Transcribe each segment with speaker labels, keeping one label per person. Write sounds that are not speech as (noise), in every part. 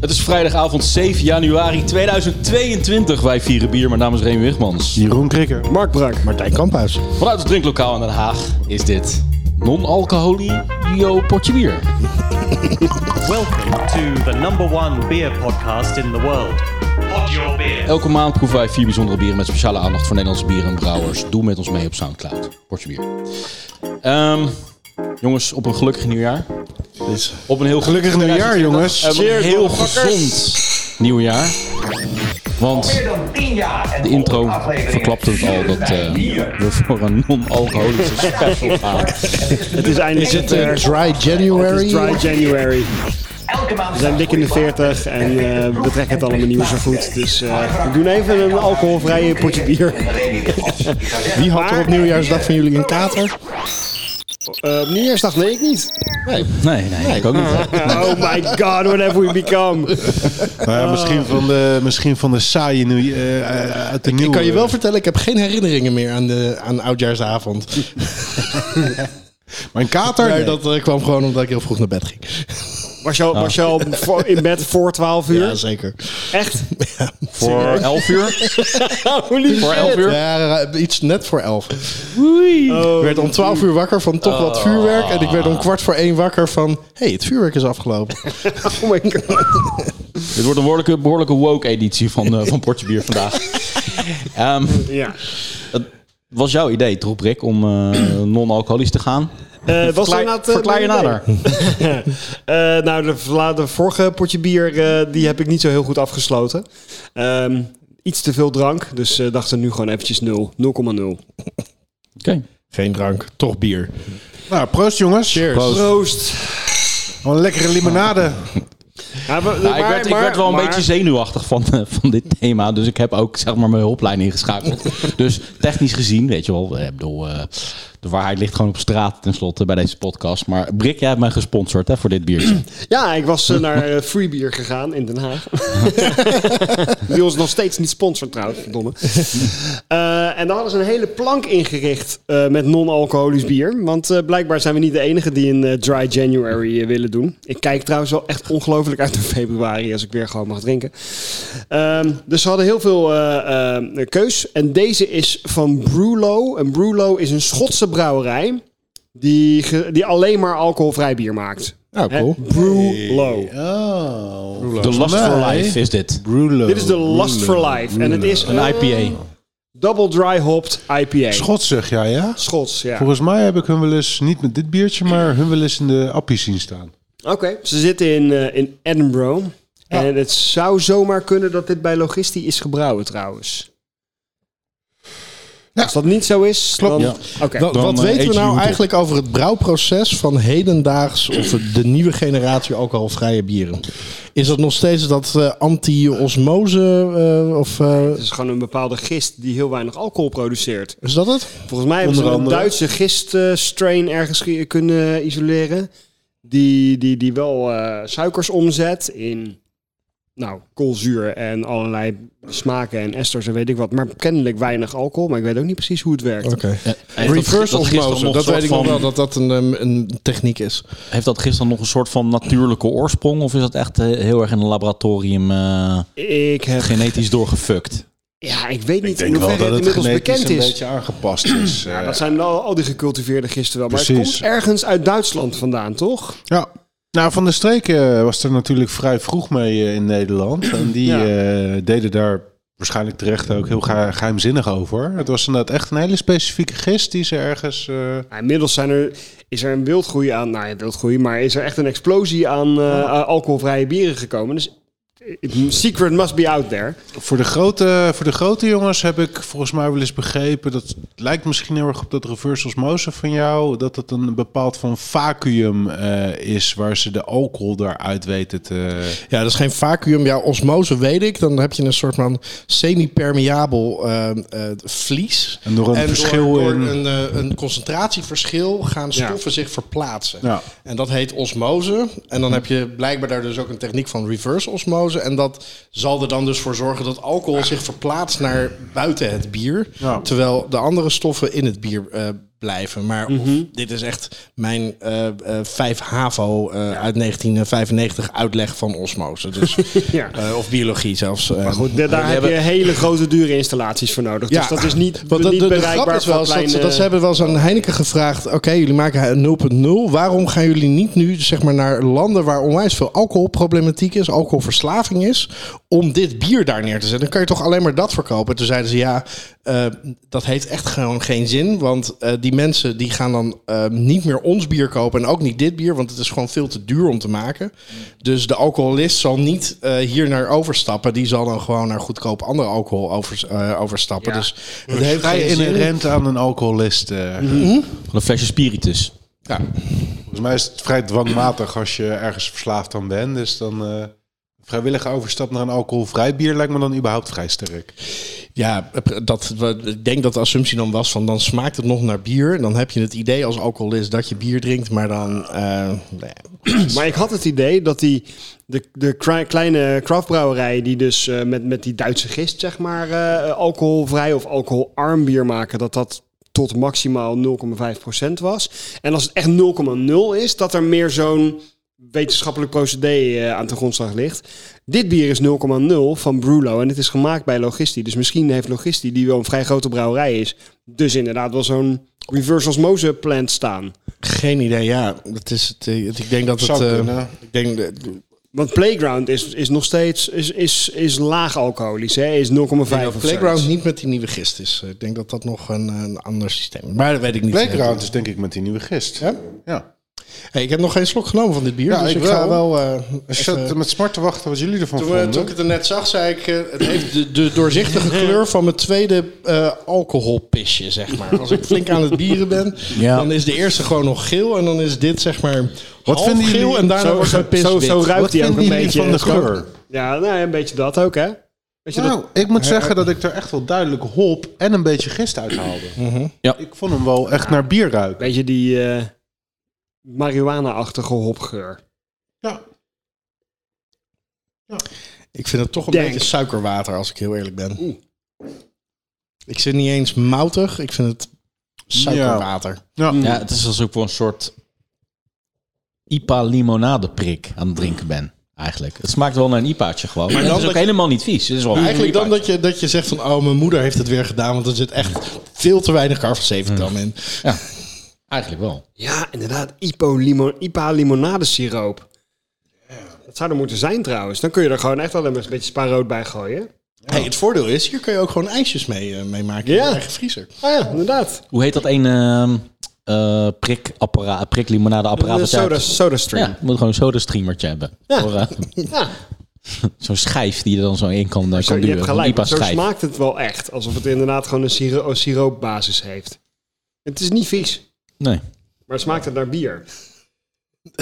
Speaker 1: Het is vrijdagavond 7 januari 2022. Wij vieren bier. Mijn naam is Remy Wigmans.
Speaker 2: Jeroen Krikker. Mark Brak. Martijn Kamphuis.
Speaker 1: Vanuit het drinklokaal in Den Haag is dit non-alcoholio potje bier.
Speaker 3: Welcome to the number one beer podcast in the world. Pod your beer.
Speaker 1: Elke maand proeven wij vier bijzondere bieren met speciale aandacht voor Nederlandse bieren en brouwers. Doe met ons mee op Soundcloud. Potje bier. Ehm, jongens, op een gelukkig nieuwjaar. Op een heel
Speaker 2: Gelukkig nieuwjaar, jongens.
Speaker 1: Op een heel gezond nieuwjaar. Want de intro verklapte het al dat eh, we voor een non-alcoholische special gaan.
Speaker 4: Het is eindelijk het eh,
Speaker 5: Ah,
Speaker 2: Dry
Speaker 4: het is
Speaker 2: January.
Speaker 4: dry January. We zijn dik in de 40 en eh, we trekken het allemaal niet meer zo goed. Dus eh, we doen even een alcoholvrije potje bier.
Speaker 2: Wie had er op
Speaker 4: Maar-
Speaker 2: nieuwjaarsdag van jullie een kater?
Speaker 4: Eh, op nieuwjaarsdag nee ik niet.
Speaker 1: Nee, nee, ik ook niet.
Speaker 4: (laughs) Oh my god, whatever we become.
Speaker 5: Nou ja, misschien, van de, misschien van de saaie nieuw, eh, eh, uit de nieuwe...
Speaker 2: Ik kan je wel vertellen, ik heb geen herinneringen meer aan, de, aan oudjaarsavond.
Speaker 5: Mijn kater?
Speaker 2: Maar
Speaker 5: Nee.
Speaker 2: dat eh, kwam gewoon omdat ik heel vroeg naar bed ging.
Speaker 4: Was je, al, was je al voor- in bed voor 12 uur?
Speaker 2: Ja, zeker.
Speaker 4: Echt?
Speaker 1: Voor 11 uur?
Speaker 4: Holy
Speaker 1: Voor 11 uur?
Speaker 2: Ja, eh, iets net voor elf. Ik
Speaker 4: Oh,
Speaker 2: werd om twaalf uur wakker van toch wat vuurwerk. En ik werd om kwart voor één wakker van... Hé, hey, het vuurwerk is afgelopen.
Speaker 4: oh my god.
Speaker 1: Dit wordt een behoorlijke, behoorlijke woke-editie van, eh, van Portje Bier vandaag. Ehm,
Speaker 4: Ja.
Speaker 1: het was jouw idee, troep Rick, om eh, non-alcoholisch te gaan?
Speaker 4: Eh, was
Speaker 1: Verklaar-
Speaker 4: inderdaad, eh,
Speaker 1: verklaar je
Speaker 4: mijn idee.
Speaker 1: nader.
Speaker 4: Eh, nou, de, vla- de vorige potje bier, eh, die heb ik niet zo heel goed afgesloten. Ehm, iets te veel drank, dus eh, dachten nu gewoon eventjes 0. 0,0.
Speaker 1: Oké.
Speaker 2: Geen drank, toch bier.
Speaker 5: Nou, proost jongens.
Speaker 2: Cheers.
Speaker 4: Proost.
Speaker 5: Gewoon een lekkere limonade.
Speaker 4: Ja, we-
Speaker 1: Nou, ik,
Speaker 4: maar-
Speaker 1: werd, ik
Speaker 4: maar-
Speaker 1: werd wel een
Speaker 4: maar-
Speaker 1: beetje zenuwachtig van, eh, van dit thema. Dus ik heb ook zeg maar mijn hulplijn ingeschakeld.
Speaker 2: (laughs)
Speaker 1: dus technisch gezien, weet je wel. eh, Ik bedoel, eh, de waarheid ligt gewoon op straat tenslotte bij deze podcast. Maar Brik, jij hebt mij gesponsord hè, voor dit
Speaker 2: (clears throat)
Speaker 1: biertje.
Speaker 4: Ja, ik was eh, naar eh, Free Beer gegaan in Den Haag. (laughs) Die ons nog steeds niet sponsoren trouwens, verdomme. Eh, en daar hadden ze een hele plank ingericht eh, met non-alcoholisch bier. Want eh, blijkbaar zijn we niet de enige die een eh, dry January eh, willen doen. Ik kijk trouwens wel echt ongelooflijk uit naar februari als ik weer gewoon mag drinken. Ehm, dus ze hadden heel veel eh, eh, keus. En deze is van Brewlow. En Brewlow is een Schotse brouwerij die, ge- die alleen maar alcoholvrij bier maakt.
Speaker 2: Nou, cool.
Speaker 4: Hè? Brew Low.
Speaker 5: Oh.
Speaker 1: De Last for Life is dit.
Speaker 5: Brulo.
Speaker 4: Dit is de Last for Life. En het is
Speaker 1: Een IPA.
Speaker 4: double dry hopped IPA.
Speaker 5: Schotsig, ja, ja.
Speaker 4: Schots, ja. Oké.
Speaker 5: Volgens mij heb ik hun wel eens, niet met dit biertje, maar hun wel eens in de appie zien staan.
Speaker 4: Ze zitten in, eh, in Edinburgh. En het zou zomaar kunnen dat dit bij Logisti is gebrouwen trouwens.
Speaker 5: Ja.
Speaker 4: Als dat niet zo is,
Speaker 2: Klopt,
Speaker 4: dan... Oké.
Speaker 2: Wat,
Speaker 1: Dan,
Speaker 2: wat
Speaker 1: eh, eet
Speaker 2: weten
Speaker 1: je
Speaker 2: we
Speaker 1: hoed
Speaker 2: nou
Speaker 1: op.
Speaker 2: eigenlijk over het brouwproces van hedendaags of de nieuwe generatie alcoholvrije bieren? Is dat nog steeds dat eh, anti-osmose eh, of eh,
Speaker 4: Het is gewoon een bepaalde gist die heel weinig alcohol produceert.
Speaker 2: is dat het?
Speaker 4: Volgens mij hebben
Speaker 5: Onder
Speaker 4: ze een
Speaker 5: andere.
Speaker 4: Duitse giststrain ergens ge- kunnen isoleren. Die, die, die wel eh, suikers omzet in nou, koolzuur en allerlei smaken en esters en weet ik wat. Maar kennelijk weinig alcohol, maar ik weet ook niet precies hoe het werkt.
Speaker 2: Reverse
Speaker 1: dat gisteren
Speaker 2: osmose,
Speaker 1: nog
Speaker 2: dat,
Speaker 1: soort
Speaker 2: weet ik nog
Speaker 1: van-
Speaker 2: wel dat dat een, ehm, een techniek is.
Speaker 1: Heeft dat gisteren nog een soort van natuurlijke oorsprong? Of is dat echt eh, heel erg in een laboratorium eh,
Speaker 4: Ik heb...
Speaker 1: genetisch doorgefuckt?
Speaker 4: Ja, ik weet niet in hoeverre het inmiddels bekend
Speaker 5: een
Speaker 4: is.
Speaker 5: beetje aangepast is. eh.
Speaker 4: Ja, dat zijn al, al die gecultiveerde gisten wel. Maar het
Speaker 5: Precies.
Speaker 4: komt ergens uit Duitsland vandaan, toch?
Speaker 5: Ja. Nou, Van der Streek eh, was er natuurlijk vrij vroeg mee eh, in Nederland. En die
Speaker 4: Ja.
Speaker 5: eh, deden daar waarschijnlijk terecht ook heel ge- geheimzinnig over. Het was inderdaad echt een hele specifieke gist die ze ergens... eh,
Speaker 4: Nou, inmiddels zijn er, is er een wildgroei aan, nou ja, wildgroei, maar is er echt een explosie aan eh,
Speaker 2: Oh.
Speaker 4: aan alcoholvrije bieren gekomen. Dus eh, secret must be out there.
Speaker 5: voor, de grote, voor de grote jongens heb ik volgens mij wel eens begrepen... dat het lijkt misschien heel erg op dat reverse osmose van jou... dat het een bepaald van vacuüm eh, is waar ze de alcohol daaruit weten te...
Speaker 2: Ja, dat is geen vacuüm. Ja, osmose weet ik. Dan heb je een soort van semi-permeabel eh, eh, vlies.
Speaker 5: En door een
Speaker 2: door-
Speaker 5: verschil
Speaker 2: door
Speaker 5: in-
Speaker 2: een, eh, een concentratieverschil gaan stoffen zich verplaatsen.
Speaker 5: Ja.
Speaker 2: En dat heet osmose. En
Speaker 4: Hm.
Speaker 2: dan heb je blijkbaar daar dus ook een techniek van reverse osmose. En dat zal er dan dus voor zorgen dat alcohol zich verplaatst naar buiten het bier.
Speaker 5: Ja.
Speaker 2: Terwijl de andere stoffen in het bier eh, blijven. Maar of-
Speaker 4: Mhm.
Speaker 2: dit is echt mijn eh eh 5 HAVO eh, uit 1995 uitleg van osmose. Dus,
Speaker 4: (laughs) Ja.
Speaker 2: eh, of biologie zelfs. eh.
Speaker 4: Goed, da- daar heb je hele grote dure installaties voor nodig. Dus dat is niet,
Speaker 2: Want dat-
Speaker 4: niet
Speaker 2: de, de grap
Speaker 4: bereikbaar
Speaker 2: is wel
Speaker 4: voor
Speaker 2: eens dat, ze-
Speaker 4: kleine...
Speaker 2: dat ze hebben wel eens aan Heineken gevraagd... oké, jullie maken hij- 0.0. Waarom gaan jullie niet nu zeg maar, naar landen waar onwijs veel alcoholproblematiek is... alcoholverslaving is, om dit bier daar neer te zetten? Dan kan je toch alleen maar dat verkopen? Toen zeiden ze ja, eh, dat heeft echt gewoon geen zin... want eh, die mensen die gaan dan eh, niet meer ons bier kopen... en ook niet dit bier, want het is gewoon veel te duur om te maken. Dus de alcoholist zal niet eh, hier naar overstappen. Die zal dan gewoon naar goedkoop andere alcohol overs- eh, overstappen. Dus het heeft
Speaker 5: Vrij
Speaker 2: geen zin.
Speaker 5: inherent aan een alcoholist. eh.
Speaker 1: Van een flesje spiritus.
Speaker 2: Ja.
Speaker 5: Volgens mij is het vrij dwangmatig als je ergens verslaafd aan bent. Dus dan eh vrijwillige overstap naar een alcoholvrij bier lijkt me dan überhaupt vrij sterk.
Speaker 2: Ja, dat, ik denk dat de assumptie dan was van dan smaakt het nog naar bier. Dan heb je het idee als alcoholist dat je bier drinkt, maar dan... eh, nee.
Speaker 4: Maar ik had het idee dat die de, de kra- kleine craftbrouwerijen die dus eh, met, met die Duitse gist, zeg maar, eh, alcoholvrij of alcoholarm bier maken, dat dat tot maximaal 0,5% was. En als het echt 0,0 is, dat er meer zo'n wetenschappelijk procedé eh, aan de grondslag ligt. Dit bier is 0,0 van Brulo en het is gemaakt bij Logisti. Dus misschien heeft Logisti, die wel een vrij grote brouwerij is, dus inderdaad wel zo'n reverse osmose plant staan.
Speaker 2: Geen idee, ja. Dat is het, eh, het- ik denk dat het...
Speaker 5: Zou
Speaker 2: eh,
Speaker 5: kunnen.
Speaker 2: ik denk, dat-
Speaker 4: Want Playground is, is nog steeds is, is, is laag alcoholisch, hè? is 0,5
Speaker 2: ik denk
Speaker 4: of
Speaker 2: dat Playground
Speaker 4: zoiets.
Speaker 2: niet met die nieuwe gist is. Eh, Ik denk dat dat nog een, een ander systeem is. Maar dat weet ik niet.
Speaker 5: Playground is denk ik met die nieuwe gist.
Speaker 2: Ja?
Speaker 5: Ja.
Speaker 2: Hey, ik heb nog geen slok genomen van dit bier,
Speaker 5: Ja,
Speaker 2: dus
Speaker 5: ik
Speaker 2: ik,
Speaker 5: wel.
Speaker 2: ga wel... eh,
Speaker 5: Als je
Speaker 2: even-
Speaker 5: zat met smart te wachten wat jullie ervan
Speaker 2: Toen, we-
Speaker 5: vonden.
Speaker 2: toen ik het er net zag, zei ik, eh, het heeft de, de (laughs) doorzichtige kleur van mijn tweede eh, alcoholpisje, zeg maar. Als ik flink aan het bieren ben,
Speaker 1: Ja.
Speaker 2: dan is de eerste gewoon nog geel en dan is dit zeg maar half
Speaker 5: vinden
Speaker 2: geel
Speaker 5: jullie-
Speaker 2: en daarna
Speaker 4: Zo-
Speaker 2: wordt
Speaker 4: zo-
Speaker 2: het pis
Speaker 4: zo- zo
Speaker 2: wit.
Speaker 4: ruikt
Speaker 5: wat
Speaker 4: die ook
Speaker 5: vinden
Speaker 4: een
Speaker 5: jullie
Speaker 4: beetje
Speaker 5: van de
Speaker 4: rook?
Speaker 5: geur?
Speaker 4: Ja, nou, een beetje dat ook, hè? Weet je dat?
Speaker 5: Nou, ik moet zeggen dat ik er echt wel duidelijk hop en een beetje gist uit haalde.
Speaker 1: Ja.
Speaker 5: Ik vond hem wel echt naar bier ruiken.
Speaker 4: Beetje die eh marihuana-achtige hopgeur.
Speaker 5: Ja.
Speaker 2: Ik vind het toch een
Speaker 4: Denk.
Speaker 2: beetje suikerwater, als ik heel eerlijk ben. Ik zit niet eens moutig, ik vind het suikerwater.
Speaker 5: Ja.
Speaker 1: Ja, het is alsof ik voor een soort IPA limonadeprik aan het drinken ben. Eigenlijk. Het smaakt wel naar een IPA'tje gewoon. Maar
Speaker 2: dan
Speaker 1: het is ook
Speaker 2: dat je-
Speaker 1: helemaal niet vies. Het is wel
Speaker 4: Mm.
Speaker 2: Eigenlijk dan
Speaker 1: dat
Speaker 2: dat je, dat je zegt van, oh, mijn moeder heeft het weer gedaan, want er zit echt veel te weinig carfacetamidan in.
Speaker 1: Eigenlijk wel.
Speaker 4: Ja, inderdaad. Ipo limo- IPA-limonadesiroop. Dat zou er moeten zijn trouwens. Dan kun je er gewoon echt alleen maar een beetje spaarrood bij gooien.
Speaker 2: Hey, het voordeel is, hier kun je ook gewoon ijsjes mee, eh, mee maken in
Speaker 4: Ja.
Speaker 2: je eigen vriezer.
Speaker 4: Ah ja, inderdaad.
Speaker 1: Hoe heet dat ehm, eh, een prikapparaat, priklimonadeapparaat?
Speaker 4: Een
Speaker 1: dat jij
Speaker 4: soda,
Speaker 1: hebt?
Speaker 4: soda stream.
Speaker 1: Ja, je moet gewoon een soda streamertje hebben. Voor, eh, Zo'n schijf die je er dan zo in kan, eh,
Speaker 4: Zo,
Speaker 1: kan
Speaker 4: je
Speaker 1: duwen.
Speaker 4: hebt gelijk,
Speaker 1: IPA
Speaker 4: want zo
Speaker 1: schijf.
Speaker 4: smaakt het wel echt. Alsof het inderdaad gewoon een, siro een siroopbasis heeft. Het is niet vies.
Speaker 1: Nee.
Speaker 4: Maar het smaakt het naar bier?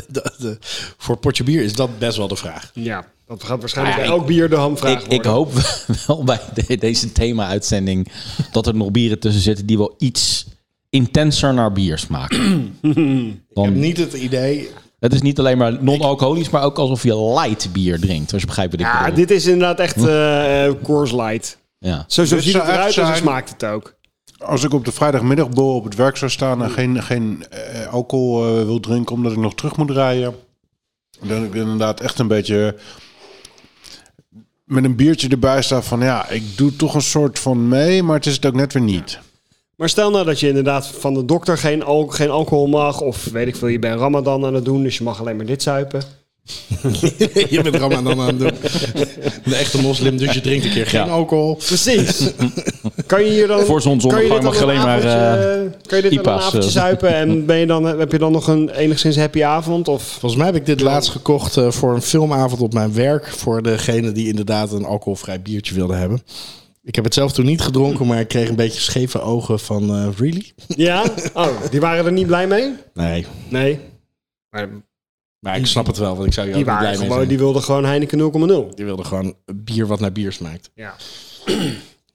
Speaker 2: De- de- voor een potje bier is dat best wel de vraag.
Speaker 4: Ja, dat gaat waarschijnlijk
Speaker 1: Ah, ja,
Speaker 4: bij elk bier de hamvraag
Speaker 1: Ik, ik
Speaker 4: worden.
Speaker 1: hoop (laughs) wel bij de- deze thema-uitzending dat er nog bieren tussen zitten die wel iets intenser naar bier smaken.
Speaker 2: Ik heb
Speaker 1: Dan,
Speaker 2: niet het idee. (laughs)
Speaker 1: het is niet alleen maar non-alcoholisch, maar ook alsof je light bier drinkt. Als je begrijpt wat ik
Speaker 4: Ja,
Speaker 1: bedoel.
Speaker 4: Ah, dit is inderdaad echt
Speaker 1: Hm.
Speaker 4: eh eh, Coors Light.
Speaker 1: Ja.
Speaker 4: Zo, zo
Speaker 5: Dit
Speaker 4: ziet
Speaker 5: zou
Speaker 4: het
Speaker 5: echt
Speaker 4: eruit en zo
Speaker 5: zijn-
Speaker 4: smaakt het ook.
Speaker 5: Als ik op de vrijdagmiddagbol op het werk zou staan en geen, geen eh, alcohol eh, wil drinken omdat ik nog terug moet rijden, dan ben ik inderdaad echt een beetje met een biertje erbij sta van ja, ik doe toch een soort van mee, maar het is het ook net weer niet.
Speaker 4: Maar stel nou dat je inderdaad van de dokter geen, al geen alcohol mag. Of weet ik veel, je bent Ramadan aan het doen, dus je mag alleen maar dit zuipen.
Speaker 2: je bent Ramadan aan het doen. De echte moslim, dus je drinkt een keer geen
Speaker 1: Ja.
Speaker 2: alcool.
Speaker 4: Precies.
Speaker 1: (laughs)
Speaker 4: kan je hier dan.
Speaker 1: Voor zonsondergang
Speaker 4: kan je dit
Speaker 1: mag
Speaker 4: dan een
Speaker 1: alleen maar,
Speaker 4: avondje, eh, Kan je dit dan
Speaker 1: IPA's,
Speaker 4: een avondje
Speaker 1: eh.
Speaker 4: zuipen en ben je dan, heb je dan nog een enigszins happy
Speaker 1: (laughs)
Speaker 4: avond? Of
Speaker 2: Volgens mij heb ik dit laatst gekocht eh, voor een filmavond op mijn werk. Voor degene die inderdaad een alcoholvrij biertje wilde hebben. Ik heb het zelf toen niet gedronken, maar ik kreeg een beetje scheve ogen van eh, really?
Speaker 4: ja? Oh, die waren er niet blij mee?
Speaker 2: Nee.
Speaker 4: Nee. Maar
Speaker 2: Maar ik snap het wel, want ik zou je ook
Speaker 4: die,
Speaker 2: niet blij
Speaker 4: waren
Speaker 2: mee
Speaker 4: gewoon,
Speaker 2: zijn.
Speaker 4: die wilden gewoon Heineken 0,0.
Speaker 2: Die wilde gewoon bier wat naar bier smaakt.
Speaker 4: Ja. (clears throat)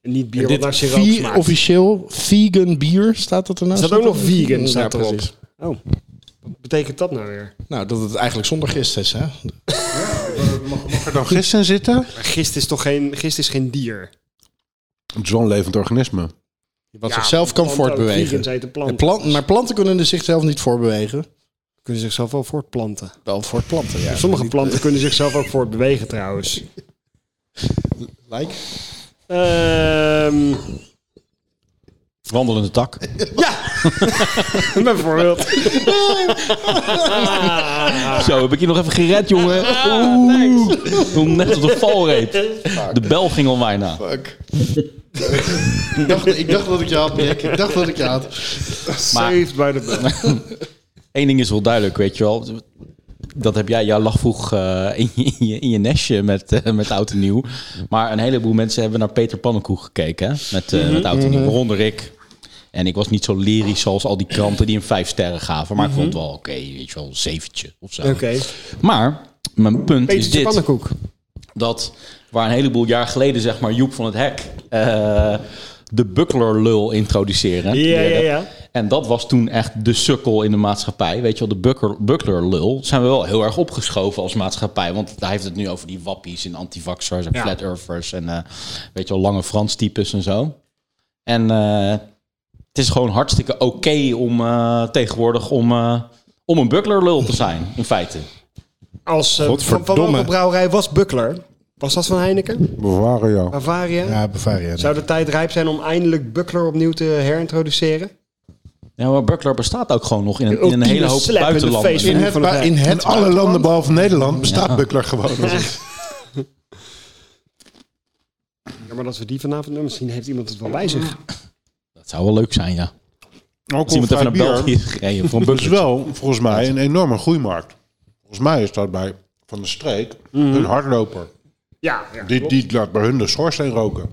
Speaker 4: En niet bier
Speaker 2: En
Speaker 4: wat
Speaker 2: dit
Speaker 4: naar siroop
Speaker 2: vi-
Speaker 4: smaakt.
Speaker 2: officieel vegan bier staat dat ernaast.
Speaker 4: Is dat ook nog vegan staat
Speaker 2: Ja,
Speaker 4: erop?
Speaker 2: precies.
Speaker 4: Oh, wat betekent dat nou weer?
Speaker 2: Nou, dat het eigenlijk zonder gist is, hè?
Speaker 5: Mag er dan gist in zitten?
Speaker 4: Maar gist is toch geen, gist is geen dier?
Speaker 5: Het is wel een levend organisme.
Speaker 2: Wat
Speaker 4: Ja,
Speaker 2: zichzelf kan
Speaker 4: planten ook. Vegans
Speaker 2: voortbewegen.
Speaker 4: eten
Speaker 2: En
Speaker 4: planten.
Speaker 2: plant, maar planten kunnen dus zichzelf niet voortbewegen.
Speaker 4: kunnen zichzelf wel voortplanten.
Speaker 2: Wel voortplanten,
Speaker 4: (laughs)
Speaker 2: ja.
Speaker 4: Sommige planten kunnen zichzelf ook voortbewegen
Speaker 2: (laughs)
Speaker 4: trouwens.
Speaker 2: Like. (laughs)
Speaker 4: Ehm,
Speaker 1: Wandelende tak.
Speaker 4: bijvoorbeeld. Ah.
Speaker 1: Zo, heb ik je nog even gered, jongen. Oeh, Toen net op de valreep. De bel ging al bijna.
Speaker 2: Fuck. ik, dacht, ik dacht dat ik je had, Nick. Ik dacht dat ik je had.
Speaker 4: Saved by the
Speaker 2: (laughs)
Speaker 4: bell.
Speaker 1: Eén ding is wel duidelijk, weet je wel. Dat heb jij, jij lag vroeg eh, in, je, in, je, in je nestje met, eh, met Oud en Nieuw. Maar een heleboel mensen hebben naar Peter Pannenkoek gekeken hè, met, eh,
Speaker 4: Mhm.
Speaker 1: met Oud en Nieuw, waaronder ik. En ik was niet zo lyrisch als al die kranten die hem vijf sterren gaven. Maar ik vond het wel oké, weet je wel, een zeventje of zo.
Speaker 4: Mhm. Oké.
Speaker 1: Maar mijn punt is
Speaker 4: Petertje
Speaker 1: dit
Speaker 4: pannenkoek.
Speaker 1: dat waar een heleboel jaar geleden, zeg maar, Joep van het Hek eh, de bucklerlul introduceren.
Speaker 4: Ja, ja, ja.
Speaker 1: En dat was toen echt de sukkel in de maatschappij. Weet je wel, de buckler, bucklerlul zijn we wel heel erg opgeschoven als maatschappij. Want hij heeft het nu over die wappies en antivaxers en
Speaker 4: Ja.
Speaker 1: flat earthers en eh, weet je wel, lange Frans types en zo. En eh, het is gewoon hartstikke oké om eh, tegenwoordig om, eh, om een bucklerlul te zijn, in feite.
Speaker 4: Als, eh, van, van
Speaker 2: Godverdomme.
Speaker 4: welke brouwerij was Buckler? Was dat van Heineken?
Speaker 5: Bavaria.
Speaker 4: Bavaria?
Speaker 2: Ja, Bavaria.
Speaker 4: Zou de tijd rijp zijn om eindelijk Buckler opnieuw te herintroduceren?
Speaker 1: Ja, maar Buckler bestaat ook gewoon nog in een, in een
Speaker 4: ultieme
Speaker 1: hele hoop
Speaker 4: slap in de
Speaker 1: buitenlanden.
Speaker 4: face.
Speaker 5: In het,
Speaker 4: Van het
Speaker 5: ba-
Speaker 4: Hek.
Speaker 5: in het alle landen behalve Nederland bestaat Buckler gewoon. Dat is-
Speaker 4: Ja, maar als we die vanavond doen, misschien heeft iemand het wel bij zich.
Speaker 1: Dat zou wel leuk zijn, ja. Als iemand even
Speaker 5: Alcoholvrij
Speaker 1: naar
Speaker 5: bier.
Speaker 1: België is gereden
Speaker 4: (laughs)
Speaker 1: voor een
Speaker 5: Dat is
Speaker 1: buckler.
Speaker 5: wel volgens mij een enorme groeimarkt. Volgens mij is dat bij Van de Streek een hardloper.
Speaker 4: Mhm. Ja, ja
Speaker 5: Die, die laat bij hun de schoorsteen roken.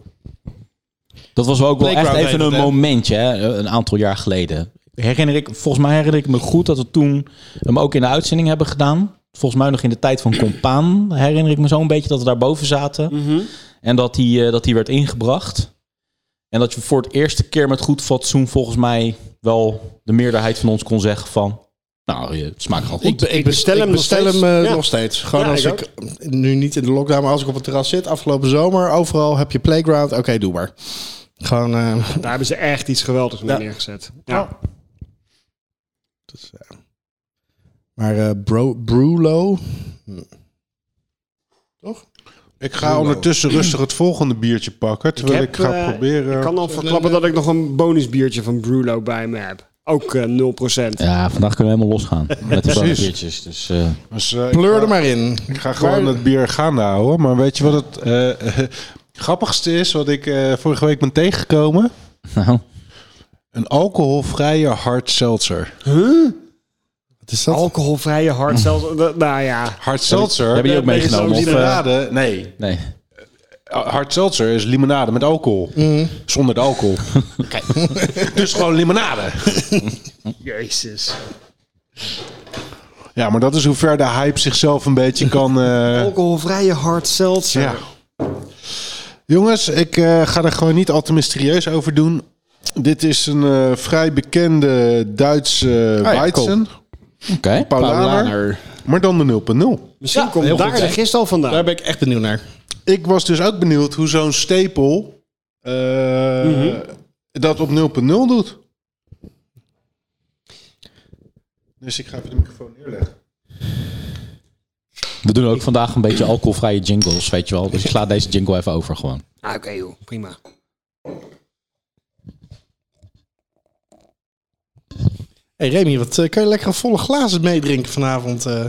Speaker 1: Dat was wel ook wel echt
Speaker 5: Playground
Speaker 1: even
Speaker 5: heet
Speaker 1: een
Speaker 5: het, hè?
Speaker 1: momentje, hè, een aantal jaar geleden. Herinner ik, volgens mij herinner ik me goed dat we toen hem ook in de uitzending hebben gedaan. Volgens mij nog in de tijd van Compaan herinner ik me zo'n beetje dat we daarboven zaten.
Speaker 4: Mhm.
Speaker 1: En dat die, eh, dat die werd ingebracht. En dat je voor het eerste keer met goed fatsoen volgens mij wel de meerderheid van ons kon zeggen van... Nou, eh, het smaakt gewoon goed.
Speaker 2: Ik, ik
Speaker 4: bestel
Speaker 2: bestel
Speaker 4: hem
Speaker 2: hem,
Speaker 4: nog steeds.
Speaker 2: bestel hem eh,
Speaker 4: Ja.
Speaker 2: nog steeds. Gewoon
Speaker 4: Ja,
Speaker 2: als
Speaker 4: ik
Speaker 2: ik, eh, nu niet in de lockdown, maar als ik op het terras zit, afgelopen zomer, overal heb je playground. Oké, doe maar. Gewoon, eh,
Speaker 4: daar hebben ze echt iets geweldigs mee
Speaker 2: Ja.
Speaker 4: neergezet. Ja.
Speaker 2: dus, ja. maar eh, bro, Brulo,
Speaker 5: Ik ga
Speaker 4: (clears throat)
Speaker 5: ondertussen rustig het volgende biertje pakken. Terwijl ik,
Speaker 4: heb,
Speaker 5: ga
Speaker 4: eh,
Speaker 5: proberen. Dus,
Speaker 4: Ik kan al verklappen dat ik nog een bonus biertje van Brulo bij me heb. Ook eh, 0%.
Speaker 1: Ja, vandaag kunnen we helemaal
Speaker 5: (laughs)
Speaker 1: losgaan met de biertjes. Dus, eh,
Speaker 5: Dus, eh, ik
Speaker 2: pleur
Speaker 5: ga-
Speaker 2: er maar in.
Speaker 5: Ik ga gewoon het bier gaande houden. Maar weet je wat het eh, (laughs) eh, grappigste is? Wat ik eh, vorige week ben tegengekomen?
Speaker 1: nou,
Speaker 5: Een alcoholvrije hard seltzer.
Speaker 2: Wat is dat?
Speaker 4: Alcoholvrije
Speaker 5: Mm.
Speaker 4: hard zelfs. Nou ja.
Speaker 5: Hard seltzer?
Speaker 1: heb je die ook
Speaker 5: Nee,
Speaker 1: meegenomen?
Speaker 5: is
Speaker 1: Of, eh,
Speaker 5: limonade. Nee,
Speaker 1: nee.
Speaker 5: Ah, hard seltzer is limonade met alcohol. Zonder de alcohol. (laughs) dus gewoon limonade.
Speaker 4: Jezus.
Speaker 5: Ja, maar dat is hoe ver de hype zichzelf een beetje kan... eh,
Speaker 4: Alcoholvrije hard seltzer.
Speaker 5: Ja. Jongens, ik eh, ga er gewoon niet al te mysterieus over doen. Dit is een eh, vrij bekende Duitse
Speaker 2: Ah ja,
Speaker 5: Weizen.
Speaker 1: Oké.
Speaker 5: Oh Paulaner. Maar dan de 0.0.
Speaker 4: Misschien
Speaker 2: Ja, heel
Speaker 4: komt daar
Speaker 2: goed,
Speaker 4: de
Speaker 2: hè?
Speaker 4: gist al vandaan.
Speaker 2: Daar ben ik echt benieuwd naar.
Speaker 5: Ik was dus ook benieuwd hoe zo'n stapel eh,
Speaker 1: Mhm.
Speaker 5: dat op 0.0 doet. Dus ik ga even de microfoon neerleggen.
Speaker 1: (laughs) We doen ook vandaag een beetje alcoholvrije jingles, weet je wel. Dus ik sla deze jingle even over gewoon.
Speaker 4: Ah, Oké joh, prima.
Speaker 2: Hey Remy, wat eh, kan je lekker volle glazen meedrinken vanavond? eh?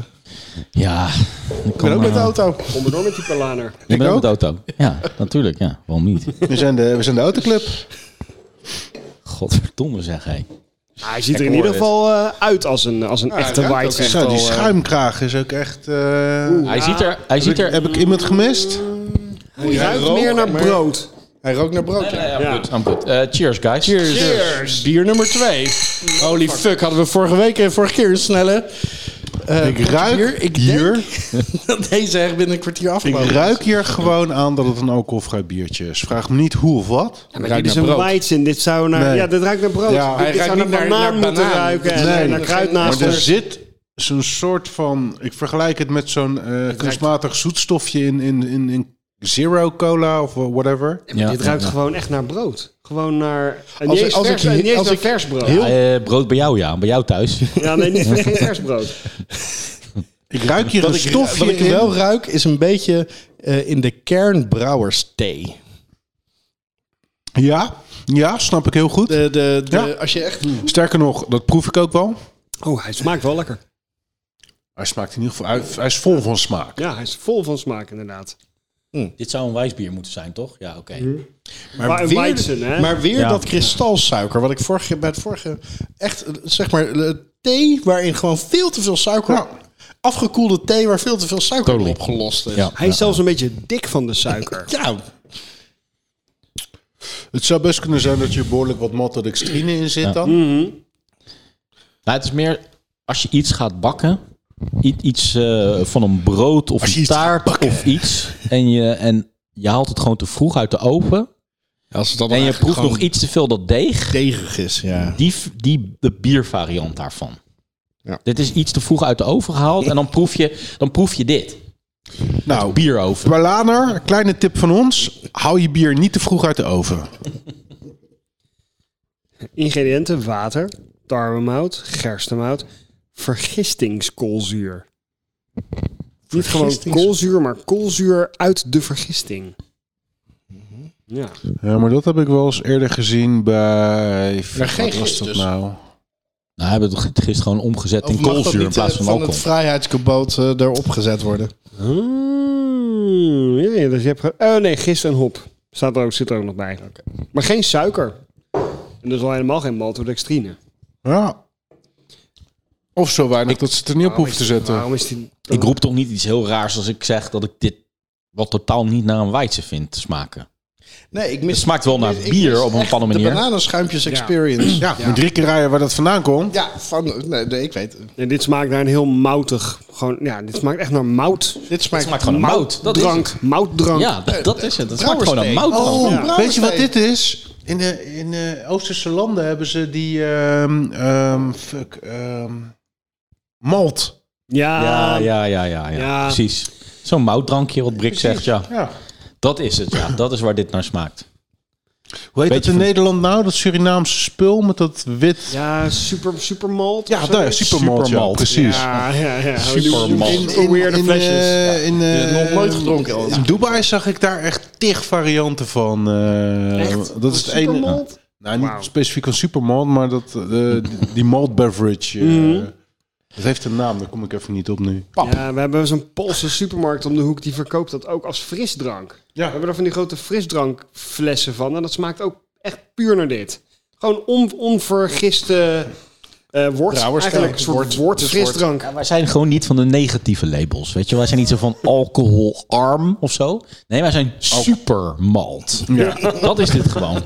Speaker 1: Ja, ik
Speaker 2: ik ben ook met de auto.
Speaker 4: Kom maar door met die palaner.
Speaker 1: Ik ben ook
Speaker 5: ook.
Speaker 1: met de auto. Ja, natuurlijk. Ja, waarom niet?
Speaker 5: We zijn de, we zijn de autoclub.
Speaker 1: Godverdomme zeg, hé.
Speaker 4: Ah, hij ziet er in ieder geval eh, uit als een, als een echte
Speaker 2: ruikt ook
Speaker 4: white eh,
Speaker 5: Zo,
Speaker 1: eh,
Speaker 5: die schuimkraag is ook echt... eh,
Speaker 1: Hij ziet er... Hij ziet
Speaker 5: heb, ik,
Speaker 1: er
Speaker 5: heb ik iemand gemist?
Speaker 4: Hij ruikt
Speaker 2: rook,
Speaker 4: meer naar
Speaker 2: maar-
Speaker 4: brood.
Speaker 2: Hij rookt naar brood. ja.
Speaker 4: Ja.
Speaker 1: I'm good. Eh, cheers, guys. Cheers.
Speaker 2: Bier nummer twee. Holy fuck, hadden we vorige week en vorige keer een snelle. eh,
Speaker 5: Ik ruik
Speaker 2: bier. Ik
Speaker 5: hier-
Speaker 2: denk (laughs) dat deze echt binnen een kwartier
Speaker 5: Ik
Speaker 2: afgelopen is.
Speaker 5: ruik hier gewoon aan dat het een alcoholvrij biertje is. Vraag me niet hoe of wat.
Speaker 4: Ja, maar
Speaker 2: Ruikt
Speaker 4: dit is
Speaker 2: naar
Speaker 4: een
Speaker 2: brood.
Speaker 4: weizen. Dit zou naar...
Speaker 5: Nee.
Speaker 4: Ja, dit ruikt naar brood.
Speaker 5: Ja,
Speaker 4: dit
Speaker 2: hij
Speaker 4: dit zou
Speaker 2: ruikt
Speaker 4: naar
Speaker 2: niet naar-
Speaker 4: banaan
Speaker 2: naar
Speaker 4: moeten
Speaker 2: banaan.
Speaker 4: ruiken. En
Speaker 2: Nee,
Speaker 4: nee, naar
Speaker 2: maar
Speaker 5: Maar er
Speaker 4: kruidnagels.
Speaker 5: zit zo'n soort van... Ik vergelijk het met zo'n eh, kunstmatig zoetstofje in, in, in, in Zero Cola of whatever.
Speaker 1: Ja.
Speaker 4: Dit ruikt gewoon echt naar brood. Gewoon naar... En
Speaker 2: Als
Speaker 4: niet
Speaker 2: ik-
Speaker 4: eens
Speaker 2: als
Speaker 4: vers,
Speaker 2: ik hier-
Speaker 4: en niet eens
Speaker 2: als
Speaker 4: naar
Speaker 2: ik-
Speaker 4: vers brood.
Speaker 2: Heel-
Speaker 1: Eh, brood bij jou, ja. Bij jou
Speaker 5: (laughs)
Speaker 1: thuis.
Speaker 4: Ja, nee,
Speaker 2: (laughs)
Speaker 4: niet, geen vers brood.
Speaker 5: Ik ruik hier een
Speaker 2: Wat ik,
Speaker 5: stofje
Speaker 2: wat ik
Speaker 5: in.
Speaker 2: wel ruik is een beetje eh, in de kern brouwersthee.
Speaker 5: Ja, ja, snap ik heel goed.
Speaker 2: De, de, de,
Speaker 5: Ja.
Speaker 2: Als je echt...
Speaker 4: Hmm.
Speaker 5: Sterker nog, dat proef ik ook wel.
Speaker 4: Oh, hij smaakt wel lekker.
Speaker 5: Hij smaakt in ieder geval, hij, hij is vol van smaak.
Speaker 4: Ja, hij is vol van smaak inderdaad.
Speaker 1: Dit zou een wijsbier moeten zijn, toch? Ja, oké. Nou,
Speaker 4: Maar een
Speaker 2: weer,
Speaker 4: Weizen, hè?
Speaker 2: maar weer
Speaker 1: Ja.
Speaker 2: dat kristalsuiker, wat ik vorige, bij het vorige... Echt, eh, zeg maar, eh, thee waarin gewoon veel te veel suiker... Afgekoelde thee waar veel te veel suiker in
Speaker 1: Totally.
Speaker 2: opgelost is.
Speaker 1: Ja.
Speaker 4: Hij is zelfs een beetje dik van de suiker.
Speaker 2: Ja,
Speaker 5: Het zou best kunnen zijn dat je behoorlijk wat maltodextrine in zit dan.
Speaker 2: Hmm.
Speaker 1: Nou, het is meer als je iets gaat bakken. i- Iets eh, van een brood of
Speaker 5: Als je
Speaker 1: een
Speaker 5: iets gaat
Speaker 1: taart of iets. En je, en je haalt het gewoon te vroeg uit de
Speaker 2: Oh,
Speaker 1: oven.
Speaker 2: Als het dan
Speaker 1: En je proeft nog iets te veel dat deeg.
Speaker 2: degig is. Ja.
Speaker 1: Die, v- die de biervariant daarvan.
Speaker 2: Ja.
Speaker 1: Dit is iets te vroeg uit de oven gehaald. En dan proef je, dan proef je dit.
Speaker 5: Nou,
Speaker 1: Bieroven.
Speaker 5: Berlaner, kleine tip van ons. Hou je bier niet te vroeg uit de oven.
Speaker 4: Ingrediënten: water, tarwemout, gerstemout, vergistingskoolzuur. Niet gewoon
Speaker 2: Vergistings-
Speaker 4: koolzuur, maar koolzuur uit de vergisting. Ja.
Speaker 5: Ja, maar dat heb ik wel eens eerder gezien bij...
Speaker 2: geen
Speaker 5: Wat was
Speaker 2: gist
Speaker 5: dat
Speaker 2: dus.
Speaker 5: nou?
Speaker 1: Nou, hebben we het gisteren gewoon omgezet in koolzuur in plaats van
Speaker 2: eh, het
Speaker 1: alcohol.
Speaker 2: vrijheidsgeboot eh, erop gezet worden.
Speaker 4: Hmm, ja, ja, dus je hebt ge- oh nee, gist en hop. Staat er ook, zit er ook nog bij. Maar geen suiker. En dus al helemaal geen maltodextrine.
Speaker 5: Ja. Of zo weinig dat ze het er niet op hoeven te zetten.
Speaker 4: Waarom is die...
Speaker 1: Ik roep toch niet iets heel raars als ik zeg dat ik dit wat totaal niet naar een weidse vind te smaken.
Speaker 2: Nee, ik
Speaker 1: Het
Speaker 2: mis
Speaker 1: smaakt wel naar
Speaker 2: ik mis
Speaker 1: bier op een
Speaker 2: echt
Speaker 1: bepaalde
Speaker 2: De
Speaker 1: manier.
Speaker 2: bananenschuimpjes experience.
Speaker 5: Ja, met drie keer rijden waar dat vandaan komt.
Speaker 2: Ja, van, nee, nee, ik weet het.
Speaker 4: Nee, dit smaakt naar een heel moutig... Gewoon, ja, dit smaakt echt naar mout.
Speaker 2: Dit smaakt, (laughs)
Speaker 1: Het smaakt gewoon naar mout. Dat is het.
Speaker 4: Drank, moutdrank.
Speaker 1: Ja, dat, dat is het. Het smaakt gewoon naar mout.
Speaker 2: Oh,
Speaker 1: dan.
Speaker 2: brouwersthee.
Speaker 5: Weet je wat dit is? In de, in de Oosterse landen hebben ze die... ehm, ehm, fuck. ehm, malt.
Speaker 4: Ja,
Speaker 1: Ja, ja, ja, ja, ja,
Speaker 4: Ehm, Ja.
Speaker 1: precies. Zo'n moutdrankje, wat Brik zegt, ja.
Speaker 5: Ja.
Speaker 1: Dat is het, ja. Dat is waar dit naar smaakt.
Speaker 5: Hoe heet
Speaker 1: Beetje
Speaker 5: dat in
Speaker 1: van-
Speaker 5: Nederland nou? Dat Surinaamse spul met dat wit...
Speaker 4: Ja, super, super malt.
Speaker 5: Ja, daar is supermalt.
Speaker 1: Supermalt.
Speaker 5: Ja, precies.
Speaker 4: Ja, ja, ja.
Speaker 1: Supermalt.
Speaker 4: In, in, weirde
Speaker 5: in,
Speaker 4: flesjes.
Speaker 5: eh, in, eh,
Speaker 2: Ja, nog nooit gedronken,
Speaker 5: In
Speaker 2: Elsa.
Speaker 5: Dubai zag ik daar echt tig varianten van. eh,
Speaker 4: Echt?
Speaker 5: Dat is het ene.
Speaker 4: Supermalt?
Speaker 5: Nou, niet
Speaker 4: Wauw.
Speaker 5: specifiek een supermalt, maar dat, eh, die- die malt beverage. eh, Dat heeft een naam, daar kom ik even niet op nu.
Speaker 4: Ja, we hebben zo'n Poolse supermarkt om de hoek die verkoopt dat ook als frisdrank.
Speaker 5: Ja.
Speaker 4: We hebben er van die grote frisdrankflessen van en dat smaakt ook echt puur naar dit. Gewoon on, onvergiste eh wort.
Speaker 2: Brouwersdrank,
Speaker 4: Eigenlijk een
Speaker 2: wort,
Speaker 4: soort wort,
Speaker 2: dus
Speaker 4: frisdrank.
Speaker 1: Ja, wij zijn gewoon niet van de negatieve labels, weet je. Wij zijn niet zo van alcoholarm of zo. Nee, wij zijn supermalt.
Speaker 5: Ja.
Speaker 1: Dat is dit gewoon.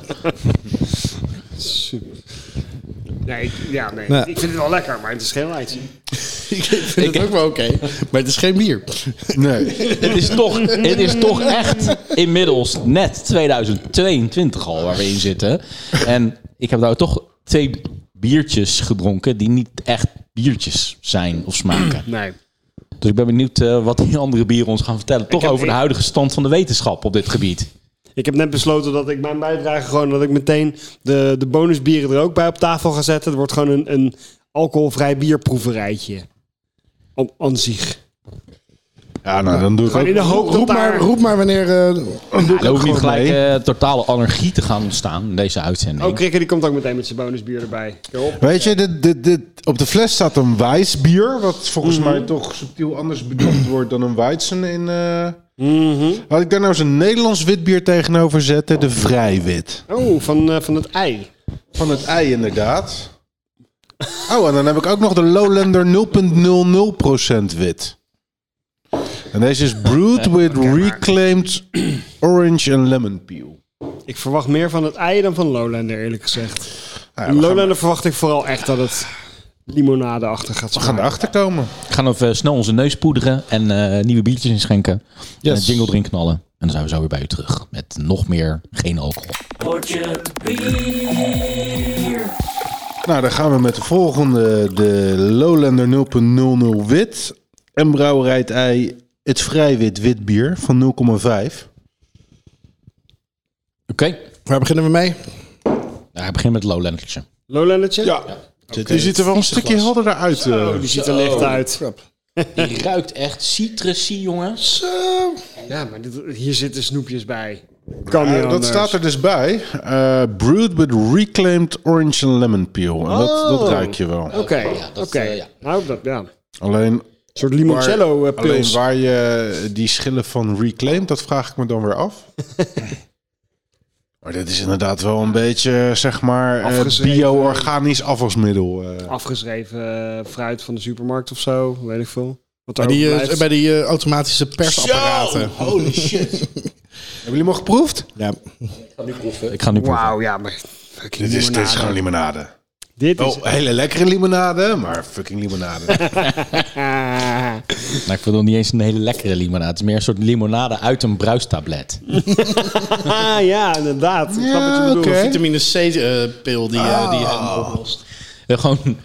Speaker 4: Nee, ik- ja, nee.
Speaker 2: Ja.
Speaker 4: Ik vind het wel lekker, maar het is geen light.
Speaker 2: Ik vind het ook wel oké, maar het is geen bier.
Speaker 5: Nee.
Speaker 1: Het is,
Speaker 4: (laughs)
Speaker 1: toch, het is toch echt inmiddels net 2022 al waar we in zitten. En ik heb daar toch twee biertjes gedronken die niet echt biertjes zijn of smaken.
Speaker 4: (clears throat) Nee.
Speaker 1: Dus ik ben benieuwd eh, wat die andere bieren ons gaan vertellen. Toch
Speaker 4: heb
Speaker 1: over de
Speaker 4: één-
Speaker 1: huidige stand van de wetenschap op dit gebied.
Speaker 4: Ik heb net besloten dat ik mijn bijdrage gewoon... dat ik meteen de, de bonusbieren er ook bij op tafel ga zetten. Het wordt gewoon een, een alcoholvrij bierproeverijtje. Om aan zich.
Speaker 5: Ja, nou, dan doe ik
Speaker 4: Gewoon in
Speaker 5: ook...
Speaker 4: de hoop dat
Speaker 2: (laughs) Roep maar,
Speaker 4: daar...
Speaker 2: roep maar wanneer... eh,
Speaker 1: Er hoeft niet
Speaker 5: gewoon
Speaker 1: gelijk eh, totale anarchie te gaan ontstaan in deze uitzending.
Speaker 4: Oh, Krikke die komt ook meteen met zijn bonusbier erbij. Kom.
Speaker 5: Weet je, dit, dit, dit- op de fles staat een wijsbier, wat volgens mij toch subtiel anders (clears throat) bedoeld wordt dan een weizen in... eh, Had ik daar nou eens een Nederlands witbier tegenover zetten, de vrijwit.
Speaker 4: Oh, van, eh, van het ei.
Speaker 5: Van het ei, inderdaad. Oh, en dan heb ik ook nog de Lowlander 0.00% wit. En deze is brewed with reclaimed orange and lemon peel.
Speaker 4: Ik verwacht meer van het ei dan van Lowlander, eerlijk gezegd.
Speaker 5: Nou ja, we, gaan,
Speaker 4: Lowlander verwacht ik vooral echt dat het limonadeachtig gaat
Speaker 5: we gaan
Speaker 4: smaken.
Speaker 5: erachter komen.
Speaker 1: We gaan even eh, snel onze neus poederen en eh, nieuwe biertjes inschenken. En een jingle erin knallen. En dan zijn we zo weer bij u terug met nog meer geen alcohol.
Speaker 5: Nou, dan gaan we met de volgende. De Lowlander 0.00 wit. En brouwerij het ei. Het vrijwit wit bier van 0,5.
Speaker 1: Oké.
Speaker 2: waar beginnen we mee?
Speaker 1: Nou, hij begint met Lowlandertje.
Speaker 4: Lowlandertje?
Speaker 5: Zit- Die Dus ziet er wel een stukje helderder uit. eh.
Speaker 4: Oh, die ziet er licht uit.
Speaker 1: Die ruikt echt citrusy, jongens.
Speaker 4: Ja, maar dit- hier zitten snoepjes bij. Kan
Speaker 5: Ja,
Speaker 4: niet
Speaker 5: dat
Speaker 4: anders.
Speaker 5: staat er dus bij. Eh, brewed with reclaimed orange and lemon peel. En dat, dat
Speaker 4: Oh.
Speaker 5: ruik je wel.
Speaker 4: Oké,
Speaker 1: ja, dat,
Speaker 4: oké.
Speaker 1: eh, ja.
Speaker 4: Nou, dat, ja. Een
Speaker 5: Alleen,
Speaker 4: soort limoncello eh,
Speaker 5: alleen
Speaker 4: pils.
Speaker 5: waar je die schillen van reclaimed, dat vraag ik me dan weer
Speaker 4: (laughs)
Speaker 5: af. maar dit is inderdaad wel een beetje, zeg maar, eh,
Speaker 4: Afgezweten.
Speaker 5: bio-organisch afwasmiddel. eh.
Speaker 4: Afgeschreven eh, fruit van de supermarkt of zo, weet ik veel. Wat
Speaker 2: Bij
Speaker 4: daar
Speaker 2: die, eh,
Speaker 4: overblijft.
Speaker 2: bij die eh, automatische persapparaten.
Speaker 5: holy shit. Hebben jullie hem al geproefd?
Speaker 2: (laughs) Ja.
Speaker 1: Ik ga nu proeven.
Speaker 4: Wauw, ja, maar...
Speaker 5: Dit is, dit is gewoon Oh. limonade.
Speaker 4: Dit is...
Speaker 5: Wel hele lekkere limonade, maar fucking limonade.
Speaker 4: Ah.
Speaker 1: Nou, ik vind het niet eens een hele lekkere limonade. Het is meer een soort limonade uit een bruistablet.
Speaker 4: Ah, ja, inderdaad. Ik snap wat je bedoelt.
Speaker 5: oké.
Speaker 2: Vitamine C-pil die, eh, die je hem oplost.
Speaker 1: Eh, Gewoon (laughs)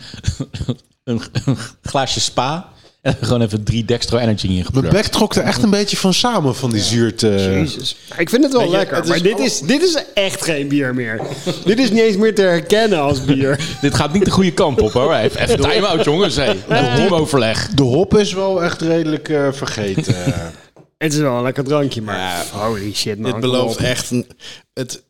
Speaker 1: een, een glaasje spa. En gewoon even drie Dextro Energy in
Speaker 5: Mijn
Speaker 1: gepleurd.
Speaker 5: bek trok er echt een beetje van samen, van die zuurte.
Speaker 4: Jezus. Ik vind het wel
Speaker 2: Weet je,
Speaker 4: lekker,
Speaker 2: het is
Speaker 4: maar dit
Speaker 2: al-
Speaker 4: is, dit is echt geen bier meer. (laughs) dit is niet eens meer te herkennen als bier.
Speaker 1: Dit gaat niet de goede kant op hoor. Even, even time-out jongens. Hey. Nog teamoverleg.
Speaker 5: De hop is wel echt redelijk eh, (laughs) vergeten.
Speaker 4: het is wel een lekker drankje, maar holy shit man.
Speaker 2: Dit
Speaker 4: kom
Speaker 2: belooft
Speaker 4: op.
Speaker 2: echt... een- het,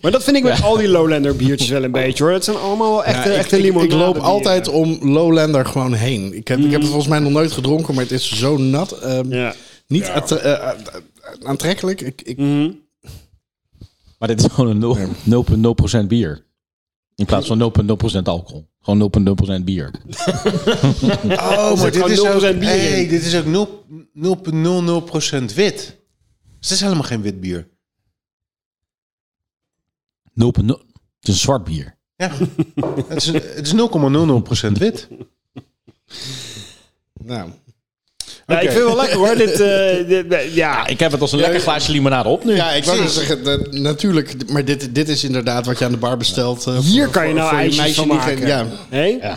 Speaker 4: Maar dat vind ik met al die Lowlander biertjes (laughs) wel een beetje hoor. Dat zijn allemaal wel echte,
Speaker 2: Ja, ik,
Speaker 4: echte
Speaker 2: ik-
Speaker 4: limonade
Speaker 2: ik loop
Speaker 4: bieren.
Speaker 2: altijd om Lowlander gewoon heen. Ik heb, ik heb het volgens mij nog nooit gedronken, maar het is zo nat. ehm,
Speaker 4: Mm. Ja.
Speaker 2: Niet attre- eh, a- a- aantrekkelijk. Ik,
Speaker 4: Mm.
Speaker 2: ik,
Speaker 4: Mhm.
Speaker 1: Maar dit is gewoon een nul- 0,0% bier. In plaats van 0,0% alcohol. Gewoon 0,0% bier.
Speaker 5: oh, maar
Speaker 4: dit is ook- hey,
Speaker 5: dit is ook 0,00% wit. Dus het is helemaal geen wit bier.
Speaker 1: 0,0. Het is een zwart bier.
Speaker 5: Ja, het is, het is 0,00% wit.
Speaker 2: nou,
Speaker 4: Ja,
Speaker 5: Oké.
Speaker 4: ik vind het wel lekker (laughs) hoor. Dit, eh, dit- eh, ja.
Speaker 1: Ik heb het als een lekker glaasje limonade op nu.
Speaker 2: ja, ik wou zeggen, dat, natuurlijk. Maar dit, dit is inderdaad wat je aan de bar bestelt. eh,
Speaker 4: Hier
Speaker 2: voor-
Speaker 4: kan je
Speaker 2: voor-
Speaker 4: nou
Speaker 2: voor
Speaker 4: ijsjes
Speaker 2: meisje
Speaker 4: van
Speaker 2: die
Speaker 4: maken.
Speaker 2: geen- Ja,
Speaker 4: Hé?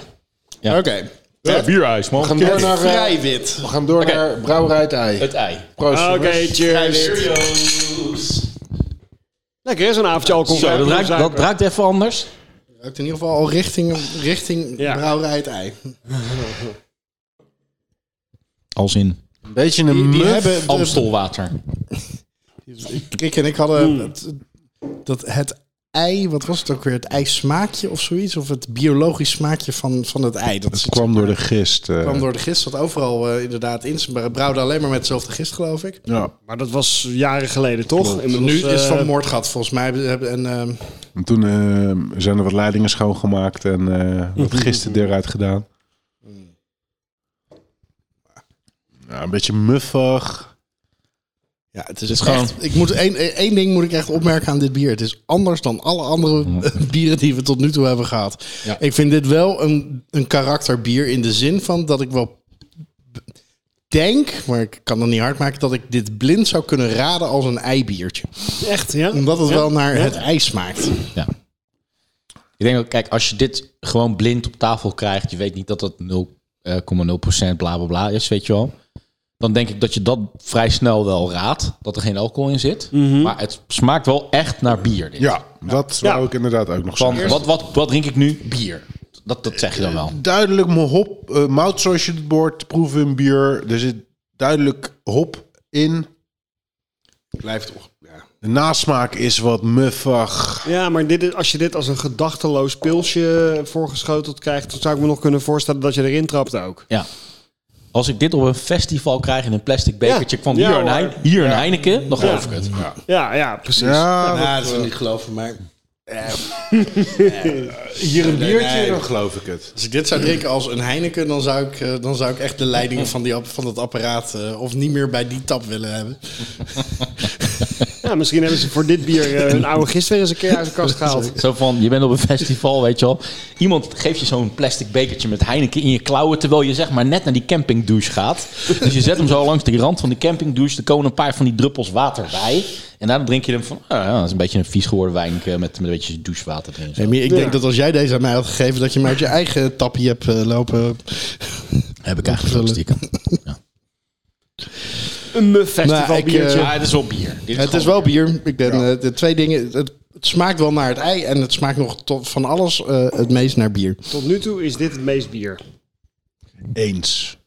Speaker 1: Ja.
Speaker 2: oké.
Speaker 1: Ja, bierijs man.
Speaker 5: gaan door naar, eh,
Speaker 2: Vrij wit.
Speaker 5: we gaan door naar Brouwerij het Ei.
Speaker 1: Het ei.
Speaker 5: Proost.
Speaker 4: Oké,
Speaker 5: jongens.
Speaker 4: cheers. Lekker is een avondje alcohol.
Speaker 1: Zo, dat ruikt, dat ruikt even anders.
Speaker 2: Ruikt in ieder geval al richting, richting
Speaker 4: Ja.
Speaker 2: brouwerij het ei.
Speaker 1: Als in
Speaker 5: Een beetje een
Speaker 2: Die, die
Speaker 5: muf.
Speaker 2: hebben... de-
Speaker 1: Amstelwater.
Speaker 2: Kik en ik hadden het, dat het ei, wat was het ook weer? Het ijsmaakje of zoiets? Of het biologisch smaakje van, van het ei. Dat
Speaker 5: Het
Speaker 2: is-
Speaker 5: kwam door de gist. eh.
Speaker 2: kwam door de gist, zat overal eh, inderdaad in. Ze brouwde alleen maar met hetzelfde gist, geloof ik.
Speaker 5: Ja,
Speaker 4: Maar dat was jaren geleden toch? Inmiddels,
Speaker 2: nu is het
Speaker 4: eh,
Speaker 2: van Moordgat, volgens mij. hebben- En, ehm,
Speaker 5: en toen eh, zijn er wat leidingen schoongemaakt en eh, wat gisten eruit gedaan. Ja, een beetje muffig.
Speaker 2: ja, het is, Dus echt-
Speaker 1: gewoon-
Speaker 2: ik moet één, één ding moet ik echt opmerken aan dit bier. Het is anders dan alle andere (laughs) bieren die we tot nu toe hebben gehad.
Speaker 1: Ja.
Speaker 2: Ik vind dit wel een, een karakterbier in de zin van dat ik wel denk, maar ik kan dat niet hard maken, dat ik dit blind zou kunnen raden als een eibiertje.
Speaker 4: Echt, ja?
Speaker 2: Omdat het wel naar het ijs smaakt.
Speaker 1: Ja. Ik denk dat, kijk, als je dit gewoon blind op tafel krijgt, je weet niet dat eh, dat 0,0% bla bla bla is, weet je wel. Dan denk ik dat je dat vrij snel wel raadt, dat er geen alcohol in zit. Maar het smaakt wel echt naar bier. Dit.
Speaker 5: Ja, dat wou ik inderdaad ook nog
Speaker 1: Van,
Speaker 5: zeggen.
Speaker 1: wat, wat, wat drink ik nu? Bier. Dat, dat zeg je dan wel.
Speaker 5: Duidelijk mijn hop, eh, mout zoals je het bord, proeven in bier. Er zit duidelijk hop in.
Speaker 2: Blijft toch. Ja.
Speaker 5: De nasmaak is wat muffig.
Speaker 4: Ja, maar dit is, als je dit als een gedachteloos pilsje voorgeschoteld krijgt, dan zou ik me nog kunnen voorstellen dat je erin trapt ook.
Speaker 1: Ja. Als ik dit op een festival krijg in een plastic bekertje
Speaker 4: Ja.
Speaker 1: van
Speaker 4: Ja,
Speaker 1: hier, een,
Speaker 4: hoor.
Speaker 1: Hein- hier een Heineken, dan geloof ik het.
Speaker 4: Ja, ja, precies.
Speaker 5: Ja,
Speaker 2: Nou, dat is niet geloven, (laughs) maar
Speaker 5: hier een biertje,
Speaker 2: nee.
Speaker 5: dan geloof ik het.
Speaker 2: Als ik dit zou drinken als een Heineken, dan zou ik, eh, dan zou ik echt de leidingen van, die, app- van dat apparaat eh, of niet meer bij die tap willen hebben.
Speaker 4: Ja, misschien hebben ze voor dit bier eh, hun oude gist weer eens een keer uit de
Speaker 2: (laughs)
Speaker 4: kast gehaald.
Speaker 1: Zo van, je bent op een (laughs) festival, weet je wel. Iemand geeft je zo'n plastic bekertje met Heineken in je klauwen... terwijl je zeg maar net naar die campingdouche gaat. Dus je zet hem zo langs die rand van de campingdouche. Er komen een paar van die druppels water bij. En daarna drink je hem van... ah, ja, dat is een beetje een vies geworden wijn eh, met, met een beetje douchewater erin. Zo.
Speaker 2: ik denk dat als jij deze aan mij had gegeven, dat je hem uit je eigen tapje hebt eh, lopen.
Speaker 1: Heb ik eigenlijk wel stiekem. Ja.
Speaker 4: Een muff festival
Speaker 2: Nou, ik, eh,
Speaker 4: biertje.
Speaker 1: Maar het is wel bier. Dit
Speaker 2: Het is
Speaker 1: gewoon
Speaker 2: wel bier. Ik ben eh, de twee dingen. Het het smaakt wel naar het ei en het smaakt nog tot van alles eh, het meest naar bier.
Speaker 4: Tot nu toe is dit het meest bier.
Speaker 5: Eens.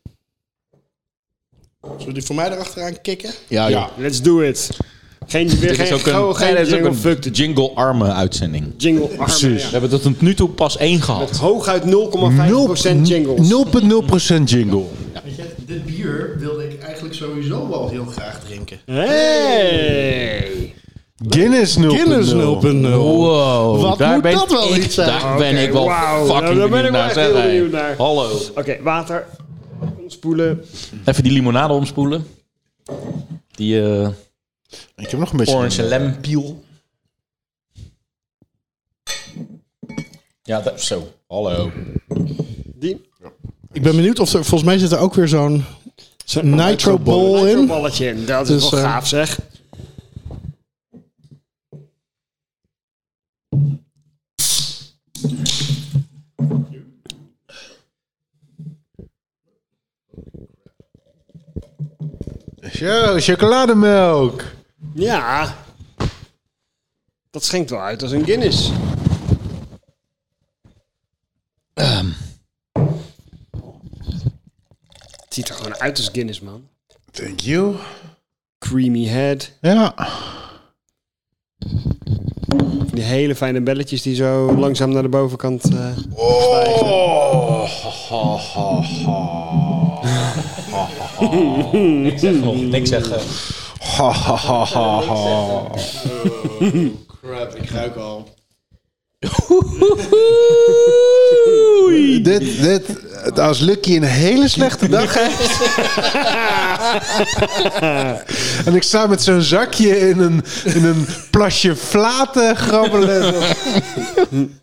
Speaker 2: Zullen we die voor mij erachteraan kicken?
Speaker 1: Ja, ja.
Speaker 4: Let's do it. Geen, weer
Speaker 1: Dit is
Speaker 4: geen,
Speaker 1: ook een,
Speaker 4: gauw- geen
Speaker 1: nee, dit is ook
Speaker 4: jingle,
Speaker 1: een
Speaker 4: fuck de
Speaker 1: jingle arme uitzending.
Speaker 4: jingle. armen,
Speaker 1: We
Speaker 4: ja.
Speaker 1: hebben tot tot nu toe pas één
Speaker 4: Met
Speaker 1: gehad.
Speaker 4: hooguit 0,5% jingles.
Speaker 5: 0,0% jingle.
Speaker 2: Weet je, dit bier wilde ik eigenlijk sowieso wel heel graag drinken.
Speaker 4: Hey!
Speaker 5: Guinness 0,0.
Speaker 2: Guinness 0.0.
Speaker 1: Wow,
Speaker 2: Wat moet dat wel
Speaker 1: ik-
Speaker 2: niet zijn?
Speaker 1: Daar ben ik wel
Speaker 4: Ah, wauw.
Speaker 1: fucking
Speaker 4: Nou, daar ben
Speaker 1: benieuwd
Speaker 4: ik
Speaker 1: naar.
Speaker 4: wel echt heel
Speaker 1: zeg, hey.
Speaker 4: benieuwd naar.
Speaker 1: Hallo.
Speaker 4: Oké, water. Spoelen.
Speaker 1: Even die limonade omspoelen. Die eh,
Speaker 5: Ik heb nog een beetje...
Speaker 1: orange lemon peel. Ja, dat, zo. Hallo.
Speaker 4: Die.
Speaker 2: Ik ben benieuwd of er, volgens mij zit er ook weer zo'n nitro ball
Speaker 4: Een
Speaker 2: in.
Speaker 4: balletje in. Dat is
Speaker 2: Dus,
Speaker 4: wel
Speaker 2: eh,
Speaker 4: gaaf zeg.
Speaker 5: Zo, chocolademelk.
Speaker 4: Ja. Dat schenkt wel uit als een Guinness.
Speaker 1: Ehm.
Speaker 4: Het ziet er gewoon uit als Guinness, man.
Speaker 5: Thank you.
Speaker 4: Creamy head.
Speaker 5: Ja.
Speaker 4: Die hele fijne belletjes die zo langzaam naar de bovenkant eh, stijgen.
Speaker 5: Oh, (laughs) ha, ha, ha.
Speaker 1: Nog niks zeggen.
Speaker 5: Ha, ha, ha, ha, ha.
Speaker 2: Oh, Crap, ik ruik al.
Speaker 5: (laughs) Dit, dit, als Lucky een hele slechte (laughs) dag heeft. en ik sta met zo'n zakje in een, in een plasje flaten grabbelen.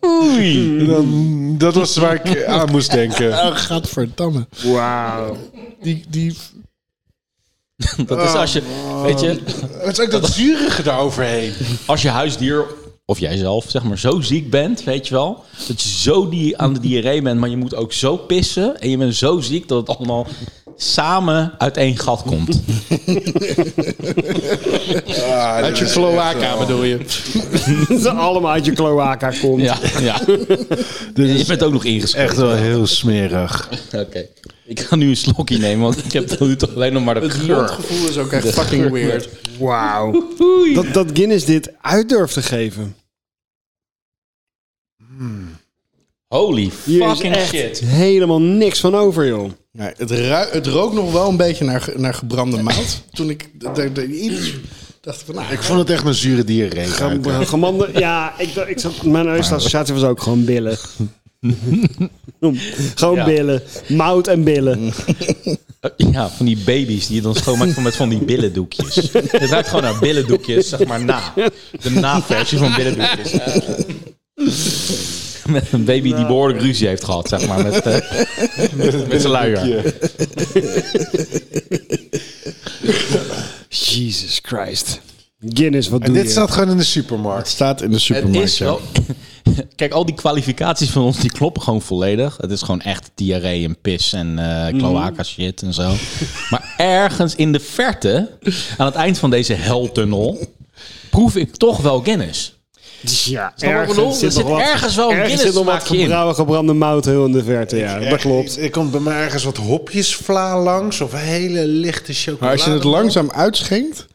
Speaker 5: Oei. Dan, dat was waar ik aan moest denken.
Speaker 2: Oh, gadverdamme.
Speaker 4: Wauw.
Speaker 2: Die, die,
Speaker 1: Dat is als je, weet je,
Speaker 5: Het is ook dat zurige daaroverheen.
Speaker 1: als je huisdier of jijzelf zeg maar zo ziek bent, weet je wel, dat je zo die aan de diarree bent, maar je moet ook zo pissen en je bent zo ziek dat het allemaal samen uit één gat komt.
Speaker 2: uit je cloaca bedoel je.
Speaker 4: (laughs) Ze allemaal uit je cloaca komt.
Speaker 1: (laughs) Ja, ja. je bent ook nog ingeschreven.
Speaker 5: Echt wel heel smerig.
Speaker 1: Oké. Ik ga nu een slokje nemen, want ik heb tot nu toe alleen nog maar de geur.
Speaker 2: gevoel is ook echt fucking weird.
Speaker 4: Wauw. Dat, dat Guinness dit uit durft te geven.
Speaker 1: Holy
Speaker 4: Hier is
Speaker 1: fucking
Speaker 4: echt
Speaker 1: shit.
Speaker 4: helemaal niks van over, joh.
Speaker 2: Ja, het, ruik, het rook nog wel een beetje naar, ge- naar gebrande mout. Toen ik d- d- d- iets dacht ik van, nou,
Speaker 5: Ik vond het echt een zure diarree. ruiken.
Speaker 4: Ge- Gemanden, ja, ik, dacht- ik zat, mijn eerste associatie was ook gewoon billen. gewoon
Speaker 1: Ja.
Speaker 4: billen. Mout en billen.
Speaker 1: Ja, van die baby's die je dan schoonmaakt van met van die (laughs) billendoekjes. Het ruikt gewoon naar billendoekjes, zeg maar na. De na-versie van billendoekjes. Met een baby die behoorlijk ruzie heeft gehad, zeg maar. Met, eh, met zijn luier.
Speaker 4: Jesus Christ. Guinness, wat
Speaker 5: En
Speaker 4: doe je?
Speaker 5: dit staat gewoon in de supermarkt.
Speaker 2: staat in de
Speaker 1: Het
Speaker 2: supermarkt.
Speaker 1: is wel... (laughs) Kijk, al die kwalificaties van ons, die kloppen gewoon volledig. Het is gewoon echt diarree en pis en eh cloaca shit en zo. maar ergens in de verte, aan het eind van deze heltunnel, proef ik toch wel Guinness.
Speaker 4: Ja,
Speaker 1: je wat ik bedoel? Er
Speaker 4: nog
Speaker 1: zit
Speaker 4: wat-
Speaker 1: ergens wel een
Speaker 4: ergens zit
Speaker 1: Guinness
Speaker 4: nog wat
Speaker 1: smaakje in.
Speaker 4: gebrouwen, gebrande mout heel in de verte. Ja, dat klopt.
Speaker 5: Dus Er komt bij mij ergens wat hopjesvla langs of hele lichte chocolade.
Speaker 2: Maar als je het langzaam uitschenkt,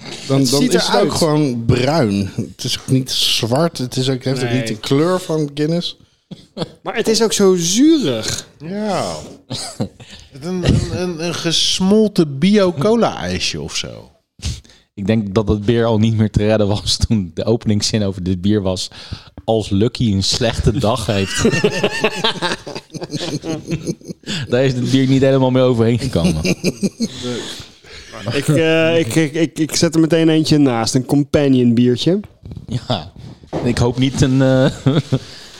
Speaker 2: dan, dan
Speaker 4: ziet
Speaker 2: is het
Speaker 4: eruit.
Speaker 2: ook gewoon bruin. Het is ook niet zwart, het is ook, heeft ook
Speaker 4: Nee.
Speaker 2: niet de kleur van Guinness.
Speaker 4: Maar het is ook zo zuurig.
Speaker 5: Ja. (laughs) een, een, een, een gesmolten bio-cola-ijsje of zo.
Speaker 1: Ik denk dat het bier al niet meer te redden was toen de openingszin over dit bier was. Als Lucky een slechte dag
Speaker 4: (laughs)
Speaker 1: heeft. Daar is het bier niet helemaal mee overheen gekomen.
Speaker 4: ik, eh, ik, ik, ik, ik zet er meteen eentje naast. Een companion biertje.
Speaker 1: Ja. Ik hoop niet een, eh,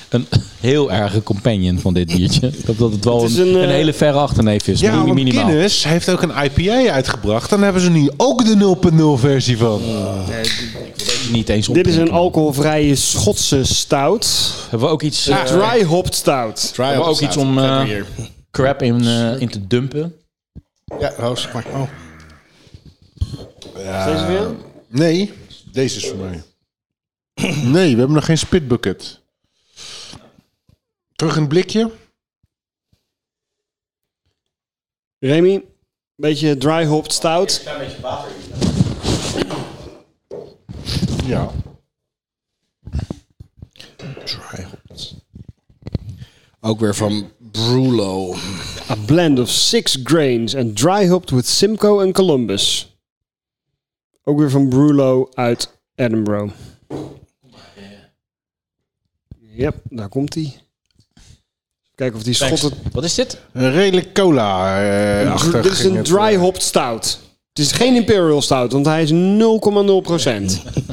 Speaker 1: een heel erge companion van dit biertje. Ik hoop dat het wel
Speaker 4: Het is
Speaker 1: een,
Speaker 4: een, eh,
Speaker 1: een hele verre achterneef is.
Speaker 5: Ja, want
Speaker 1: minimaal.
Speaker 5: Guinness heeft ook een IPA uitgebracht. Dan hebben ze nu ook de 0.0 versie van.
Speaker 1: Niet eens op.
Speaker 4: Dit is een alcoholvrije Schotse stout.
Speaker 1: Hebben we ook iets, eh,
Speaker 4: Dry hopped stout.
Speaker 1: hebben we ook iets om eh, crap in, eh, in te dumpen?
Speaker 5: eh,
Speaker 2: Ja, hoos, maar. Oh.
Speaker 4: Deze weer? (coughs)
Speaker 5: Nee, deze is voor mij. Nee, we hebben nog geen spitbucket. Terug in het blikje.
Speaker 4: Remy, een beetje dry hopped stout.
Speaker 5: Ja.
Speaker 2: Ook weer van Brulo.
Speaker 4: A blend of six grains and dry hopped with Simcoe en Columbus. Ook weer van Brulo uit Edinburgh. Yep, daar komt hij. Kijken of die schot het
Speaker 1: Wat is dit?
Speaker 5: Een redelijk cola eh achter.
Speaker 4: Dit
Speaker 2: Dus
Speaker 4: is
Speaker 5: ging
Speaker 4: een
Speaker 5: het,
Speaker 4: dry
Speaker 5: eh.
Speaker 4: hopped stout. Het is geen Imperial stout, want hij is (laughs)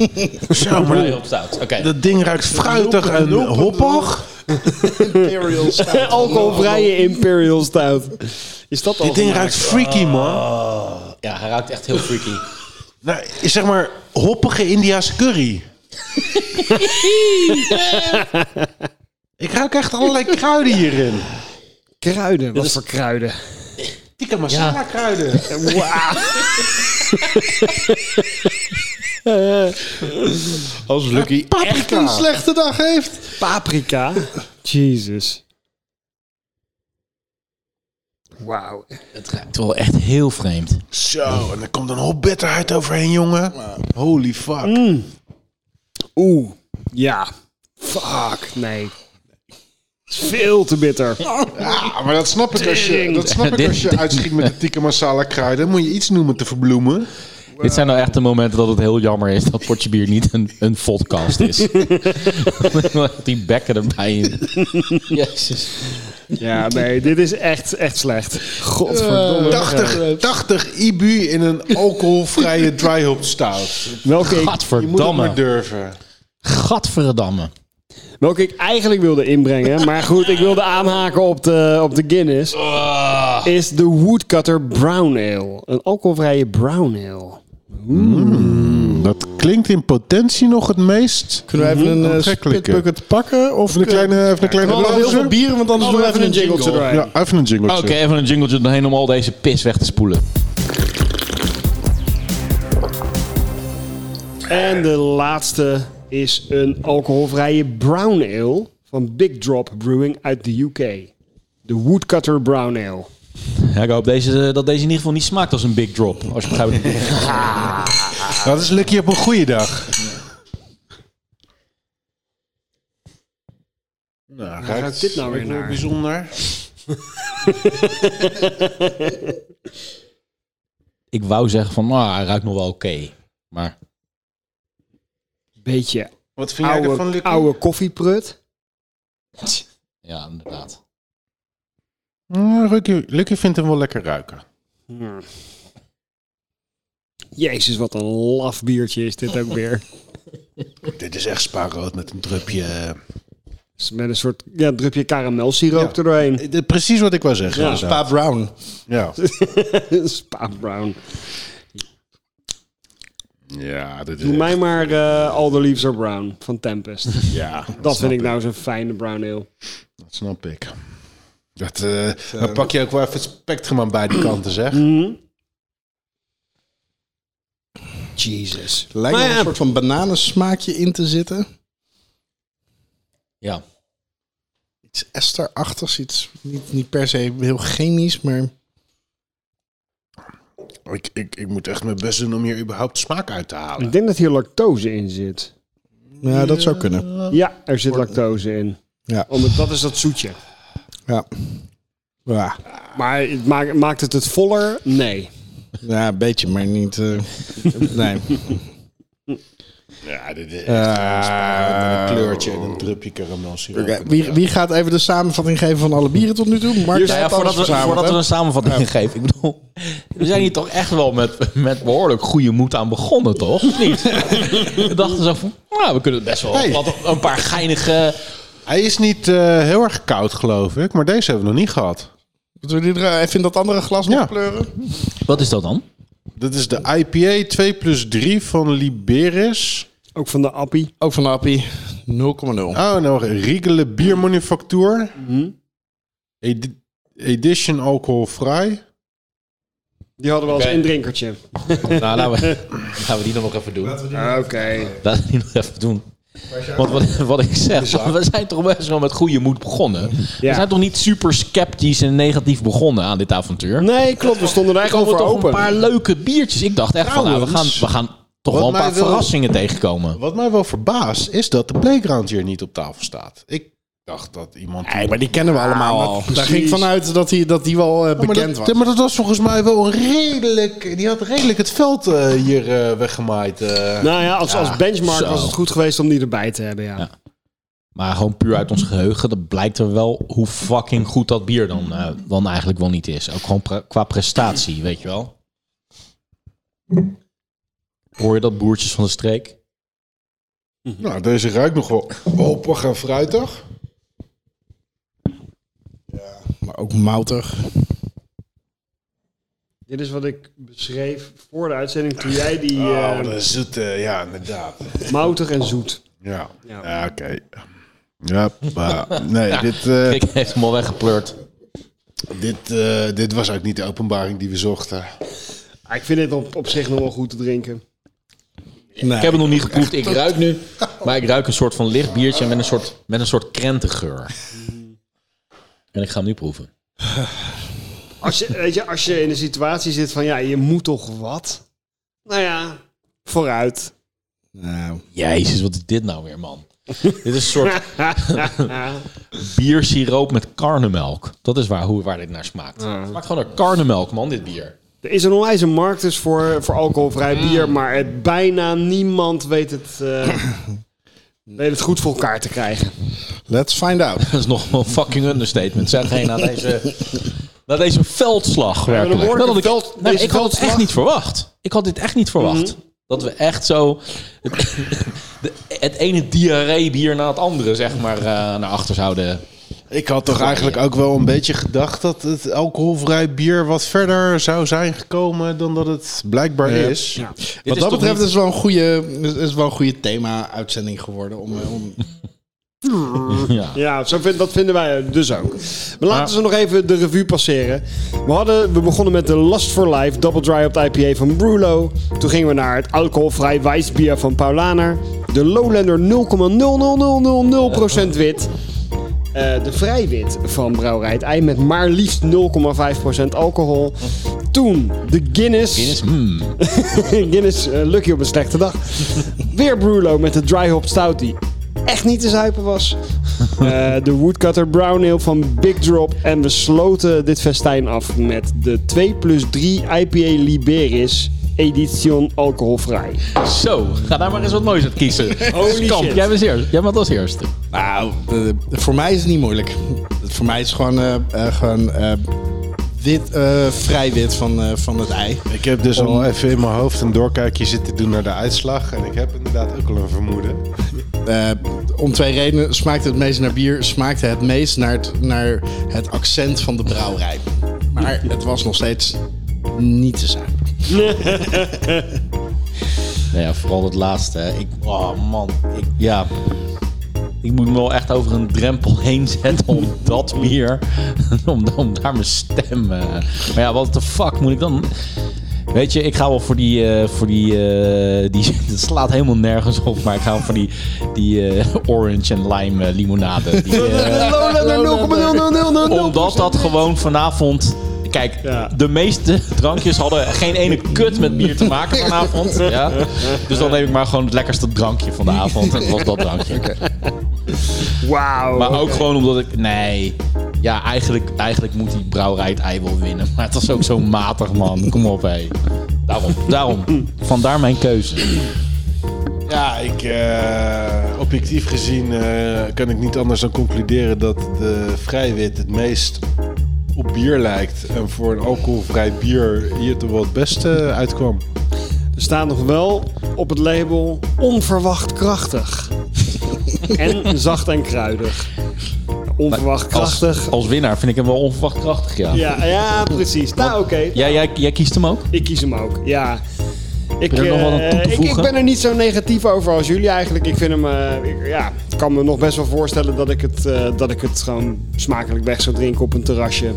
Speaker 4: 0,0%.
Speaker 5: Zo, maar
Speaker 1: Op stout. Oké.
Speaker 5: dat ding ruikt fruitig en hoppig.
Speaker 2: Imperial stout.
Speaker 4: Alcoholvrije Imperial stout. Is dat al
Speaker 5: Dit ding ruikt freaky, man.
Speaker 1: Ja, hij ruikt echt heel freaky.
Speaker 5: Nou, zeg maar hoppige India's
Speaker 2: (laughs)
Speaker 5: curry. ik ruik echt allerlei kruiden hierin.
Speaker 4: kruiden? Wat voor kruiden?
Speaker 5: Tikka masala
Speaker 2: (laughs)
Speaker 5: kruiden.
Speaker 1: Als Lucky.
Speaker 2: Paprika. Een slechte dag heeft.
Speaker 4: (laughs) Paprika? Jesus. Wauw.
Speaker 1: (laughs) Het ruikt wel echt heel vreemd.
Speaker 5: Zo, en er komt een hoop bitterheid overheen, jongen. Holy fuck.
Speaker 4: Oeh. Ja. Fuck. Nee. Het is Veel te bitter. (laughs)
Speaker 5: Ja, Ah, maar dat snap ik als je, dat snap ik
Speaker 1: Dit-
Speaker 5: als je
Speaker 2: (laughs)
Speaker 5: uitschiet met de tikka masala kruiden. Moet je iets noemen te verbloemen.
Speaker 1: Dit zijn nou echt de momenten dat het heel jammer is dat Potje Bier niet een, een podcast (laughs) is. Die bekken erbij in. Jezus.
Speaker 4: Ja, nee, dit is echt, echt slecht.
Speaker 5: Eh,
Speaker 4: Godverdomme.
Speaker 5: 80, 80 IBU in een alcoholvrije dry hop stout.
Speaker 4: Welke ik,
Speaker 5: Je moet het maar
Speaker 1: Gadverdamme.
Speaker 5: durven.
Speaker 1: Gadverdamme.
Speaker 4: welke ik eigenlijk wilde inbrengen, (laughs) maar goed, ik wilde aanhaken op de, op de Guinness, is de Woodcutter Brown Ale. Een alcoholvrije Brown Ale.
Speaker 5: Dat klinkt in potentie nog het meest.
Speaker 2: Kunnen we even een eh,
Speaker 5: Aantrekkelijke.
Speaker 2: spitbucket pakken? Of
Speaker 5: Even een kleine, even een kleine
Speaker 2: Knallen we heel
Speaker 5: blazer?
Speaker 2: veel bieren, want anders doen we even een jingle.
Speaker 4: erbij.
Speaker 5: Ja, even een jingle.
Speaker 1: Oké, even een jingletje doorheen om al deze pis weg te spoelen.
Speaker 4: En de laatste is een alcoholvrije brown ale van Big Drop Brewing uit de UK. De Woodcutter Brown Ale.
Speaker 1: Ja, ik hoop deze, eh, dat deze in ieder geval niet smaakt als een big drop. Als je begrijpt. wat ik bedoel.
Speaker 5: Nou, Dat is Lucky op een goede dag. Nou, ruikt
Speaker 4: dit nou weer
Speaker 5: ruikt wel bijzonder.
Speaker 4: naar?
Speaker 1: (laughs) ik wou zeggen van, nou, hij ruikt nog wel oké. Maar
Speaker 4: Beetje
Speaker 5: Wat vind jij ervan,
Speaker 4: oude,
Speaker 5: Lucky?
Speaker 4: oude koffieprut.
Speaker 1: ja, inderdaad.
Speaker 5: Mm, Lucky, Lucky vindt hem wel lekker ruiken.
Speaker 4: Jezus, wat een laf biertje is dit ook weer.
Speaker 5: Dit is echt spaarrood met een drupje.
Speaker 4: Dus met een soort ja, drupje karamelsiroop er doorheen.
Speaker 5: eh, Precies wat ik wou zeggen.
Speaker 4: Ja.
Speaker 5: Ja.
Speaker 2: Spa Brown.
Speaker 5: Ja.
Speaker 4: (laughs) Spa Brown.
Speaker 5: ja, dit is
Speaker 4: Doe
Speaker 5: echt-
Speaker 4: mij maar eh, All the Leaves Are Brown van (laughs) Tempest.
Speaker 5: ja,
Speaker 4: Dat
Speaker 5: snap
Speaker 4: vind ik nou zo'n fijne brown ale.
Speaker 5: Dat snap ik. Dat, eh, dan pak je ook wel even het spectrum aan beide (clears throat) kanten, zeg.
Speaker 4: Mm. Jesus.
Speaker 2: Lijkt
Speaker 4: Maar
Speaker 2: wel
Speaker 4: ja.
Speaker 2: een soort van bananensmaakje in te zitten.
Speaker 1: Ja.
Speaker 2: Iets esterachtigs, iets niet, niet per se heel chemisch, maar...
Speaker 5: Ik, ik, ik moet echt mijn best doen om hier überhaupt smaak uit te halen.
Speaker 4: Ik denk dat hier lactose in zit.
Speaker 2: Ja, dat zou kunnen.
Speaker 4: Ja, er zit lactose in.
Speaker 2: Ja.
Speaker 4: Omdat dat is dat zoetje.
Speaker 2: Ja. Ja,
Speaker 4: Maar het maakt, maakt het het voller? Nee.
Speaker 2: ja een beetje, maar niet... (laughs) eh, nee.
Speaker 5: Ja, dit is
Speaker 2: Eh,
Speaker 5: een kleurtje en een drupje karamelsiroop.
Speaker 2: Oké, Wie, wie gaat even de samenvatting geven van alle bieren tot nu toe? Mark,
Speaker 1: Nou ja, voordat, we, voordat we een samenvatting geven. Ik bedoel, we zijn hier toch echt wel met, met behoorlijk goede moed aan begonnen, toch? Of niet? (laughs) we dachten zo van, nou, we kunnen best wel
Speaker 5: Hey.
Speaker 1: wat, een paar geinige...
Speaker 5: Hij is niet eh, heel erg koud, geloof ik. Maar deze hebben we nog niet gehad.
Speaker 2: Moeten we die er even in dat andere glas
Speaker 5: Ja.
Speaker 2: nog kleuren?
Speaker 1: Wat is dat dan?
Speaker 5: Dit is de IPA 2 plus 3 van Liberis.
Speaker 4: Ook van de appie.
Speaker 2: Ook van de Appie. 0,0.
Speaker 5: Oh, nog Riegele Biermanufactuur.
Speaker 2: Mhm.
Speaker 5: Edi- edition alcoholvrij.
Speaker 4: Die hadden we als
Speaker 1: Oké.
Speaker 4: indrinkertje.
Speaker 1: nou, laten we, laten we die dan nog even doen.
Speaker 4: Ah, Oké.
Speaker 1: Laten we die nog even doen. Want wat, wat ik zeg, we zijn toch best wel met goede moed begonnen.
Speaker 4: Ja.
Speaker 1: We zijn toch niet super sceptisch en negatief begonnen aan dit avontuur.
Speaker 4: Nee, klopt. We stonden er
Speaker 1: Er
Speaker 4: eigenlijk
Speaker 1: komen
Speaker 4: over
Speaker 1: toch een paar
Speaker 4: open.
Speaker 1: leuke biertjes. Ik dacht echt van, nou, we gaan,
Speaker 5: Trouwens,
Speaker 1: we gaan toch
Speaker 5: wat
Speaker 1: wel een
Speaker 5: mij
Speaker 1: paar
Speaker 5: wel-
Speaker 1: verrassingen tegenkomen.
Speaker 5: Wat mij wel verbaast is dat de playground hier niet op tafel staat. Ik dacht dat iemand.
Speaker 2: Nee, maar die kennen we allemaal al. Daar
Speaker 5: precies.
Speaker 2: ging ik vanuit dat die, dat die wel eh,
Speaker 5: Ja, maar,
Speaker 2: bekend
Speaker 5: dat,
Speaker 2: was.
Speaker 5: maar dat was volgens mij wel een redelijk. Die had redelijk het veld eh, hier eh, weggemaaid. eh.
Speaker 4: Nou ja, als, als benchmark
Speaker 1: Zo.
Speaker 4: was het goed geweest om die erbij te hebben, ja.
Speaker 1: Maar gewoon puur uit ons geheugen, dat blijkt er wel hoe fucking goed dat bier dan, eh, dan eigenlijk wel niet is. Ook gewoon pre- qua prestatie, weet je wel. Hoor je dat boertjes van de streek?
Speaker 5: Nou, deze ruikt nog wel hoppig en fruitig.
Speaker 2: Maar ook moutig.
Speaker 4: Dit is wat ik beschreef voor de uitzending toen jij die
Speaker 5: Ja,
Speaker 4: eh,
Speaker 5: wat een Oh, zoete, ja, inderdaad.
Speaker 4: moutig en zoet.
Speaker 5: Ja,
Speaker 4: Ja.
Speaker 5: Ja, oké. Ja, maar
Speaker 2: (laughs)
Speaker 5: nee, dit, eh,
Speaker 1: Ik heeft hem al weggepleurd.
Speaker 5: dit, eh, dit was ook niet de openbaring die we zochten.
Speaker 4: Ah, ik vind dit op, op zich nog wel goed te drinken.
Speaker 1: Ik heb het nog niet geproefd. Ik ruik nu. Maar ik ruik een soort van licht biertje met een soort, met een soort krentegeur. En ik ga hem nu proeven.
Speaker 4: Als je, weet je, als je in een situatie zit van ja, je moet toch wat? Nou ja, vooruit.
Speaker 2: Nou,
Speaker 1: Jezus, wat is dit nou weer, man? (laughs) dit is een soort (laughs) biersiroop met karnemelk. Dat is waar, hoe, waar dit naar smaakt. Het smaakt gewoon naar karnemelk, man, dit bier. (laughs)
Speaker 4: Er is een onwijze markt dus voor, voor alcoholvrij bier, maar het, bijna niemand weet het, eh, weet het goed voor elkaar te krijgen.
Speaker 2: let's find out.
Speaker 1: Dat is nog wel een fucking understatement. Zeg geen na
Speaker 4: (laughs)
Speaker 1: deze, na deze veldslag, werkelijk.
Speaker 4: behoorlijke
Speaker 1: Dat had ik,
Speaker 4: veld-
Speaker 1: nou,
Speaker 4: deze
Speaker 1: ik had het
Speaker 4: veldslag. Mhm.
Speaker 1: echt niet verwacht. Ik had dit echt niet verwacht. Dat we echt zo... Het, (laughs) de- het ene diarree-bier na het andere, zeg maar, eh, naar achter zouden...
Speaker 5: Ik had toch eigenlijk ook wel een beetje gedacht dat het alcoholvrij bier wat verder zou zijn gekomen dan dat het blijkbaar is.
Speaker 1: Dit is
Speaker 2: Wat dat
Speaker 1: toch
Speaker 2: betreft
Speaker 1: niet-
Speaker 2: is het wel een goede, is- is wel een goede thema-uitzending geworden. Om, eh, (laughs) om...
Speaker 4: Ja, zo vind, dat vinden wij dus ook. Maar laten we nog even de revue passeren. We, hadden, we begonnen met de Last for Life Double Dry op de IPA van Brulo. Toen gingen we naar het alcoholvrij wijsbier van Paulaner. De Lowlander 0,00000% wit. Eh, de vrijwit van Brouwerij het Ei met maar liefst 0,5% alcohol. Toen de Guinness.
Speaker 1: Guinness, mm.
Speaker 4: (laughs) Guinness, eh, lucky op een slechte dag. Weer Brulo met de dry hop stout die echt niet te zuipen was. Eh, de Woodcutter Brown Ale van Big Drop. En we sloten dit festijn af met de 2 plus 3 IPA Liberis Edition Alcoholvrij.
Speaker 1: Zo, ga daar maar eens wat moois uit kiezen.
Speaker 4: Holy
Speaker 1: Kamp,
Speaker 4: shit.
Speaker 1: jij bent eerst. Jij bent als eerste.
Speaker 2: Nou, eh, voor mij is het niet moeilijk. Voor mij is het gewoon, eh, eh, gewoon eh, wit, eh, vrij wit van, eh, van het ei.
Speaker 5: Ik heb dus al even in mijn hoofd een doorkijkje zitten doen naar de uitslag. En ik heb inderdaad ook al een vermoeden.
Speaker 2: Eh, om twee redenen. Smaakte het meest naar bier, smaakte het meest naar het, naar het accent van de brouwerij. Maar het was nog steeds niet te zuipen.
Speaker 1: Nou ja, vooral dat laatste. hè. Ik, oh man, ik, ja. Ik moet me wel echt over een drempel (laughs) heen zetten om dat bier. (laughs) Om, om daar mijn stem. eh. Maar ja, wat de fuck moet ik dan. Weet je, ik ga wel voor die. eh, voor die, eh, die (laughs) dat slaat helemaal nergens op. Maar ik ga wel voor die, die eh, (laughs) orange en lime eh, limonade. Die, eh, omdat dat gewoon vanavond. Kijk,
Speaker 4: Ja.
Speaker 1: de meeste drankjes hadden geen ene kut met bier te maken vanavond. (laughs) Ja? Dus dan neem ik maar gewoon het lekkerste drankje van de avond. En dat was dat (laughs) drankje.
Speaker 4: Wauw.
Speaker 1: Maar ook gewoon omdat ik. Nee. Ja, eigenlijk, eigenlijk moet die brouwerij het ei wel winnen. Maar het was ook zo matig, man. Kom op, hé. Daarom, daarom. Vandaar mijn keuze.
Speaker 5: Ja, ik, eh, objectief gezien eh, kan ik niet anders dan concluderen dat de vrijwit het meest op bier lijkt. En voor een alcoholvrij bier hier toch wel het beste uitkwam.
Speaker 4: Er staat nog wel op het label onverwacht
Speaker 1: (laughs)
Speaker 4: krachtig. en zacht en kruidig. Onverwacht
Speaker 1: Als,
Speaker 4: krachtig.
Speaker 1: als winnaar vind ik hem wel onverwacht krachtig, ja.
Speaker 4: Ja, ja, precies. Nou, oké.
Speaker 1: Jij, jij, jij kiest hem ook?
Speaker 4: Ik kies hem ook, ja. Ik,
Speaker 1: je er nog wat aan
Speaker 4: eh,
Speaker 1: toe te
Speaker 4: ik, ik
Speaker 1: voegen?
Speaker 4: ben er niet zo negatief over als jullie eigenlijk. Ik vind hem, eh, ik, ja, ik kan me nog best wel voorstellen dat ik het, eh, dat ik het gewoon smakelijk weg zou drinken op een terrasje.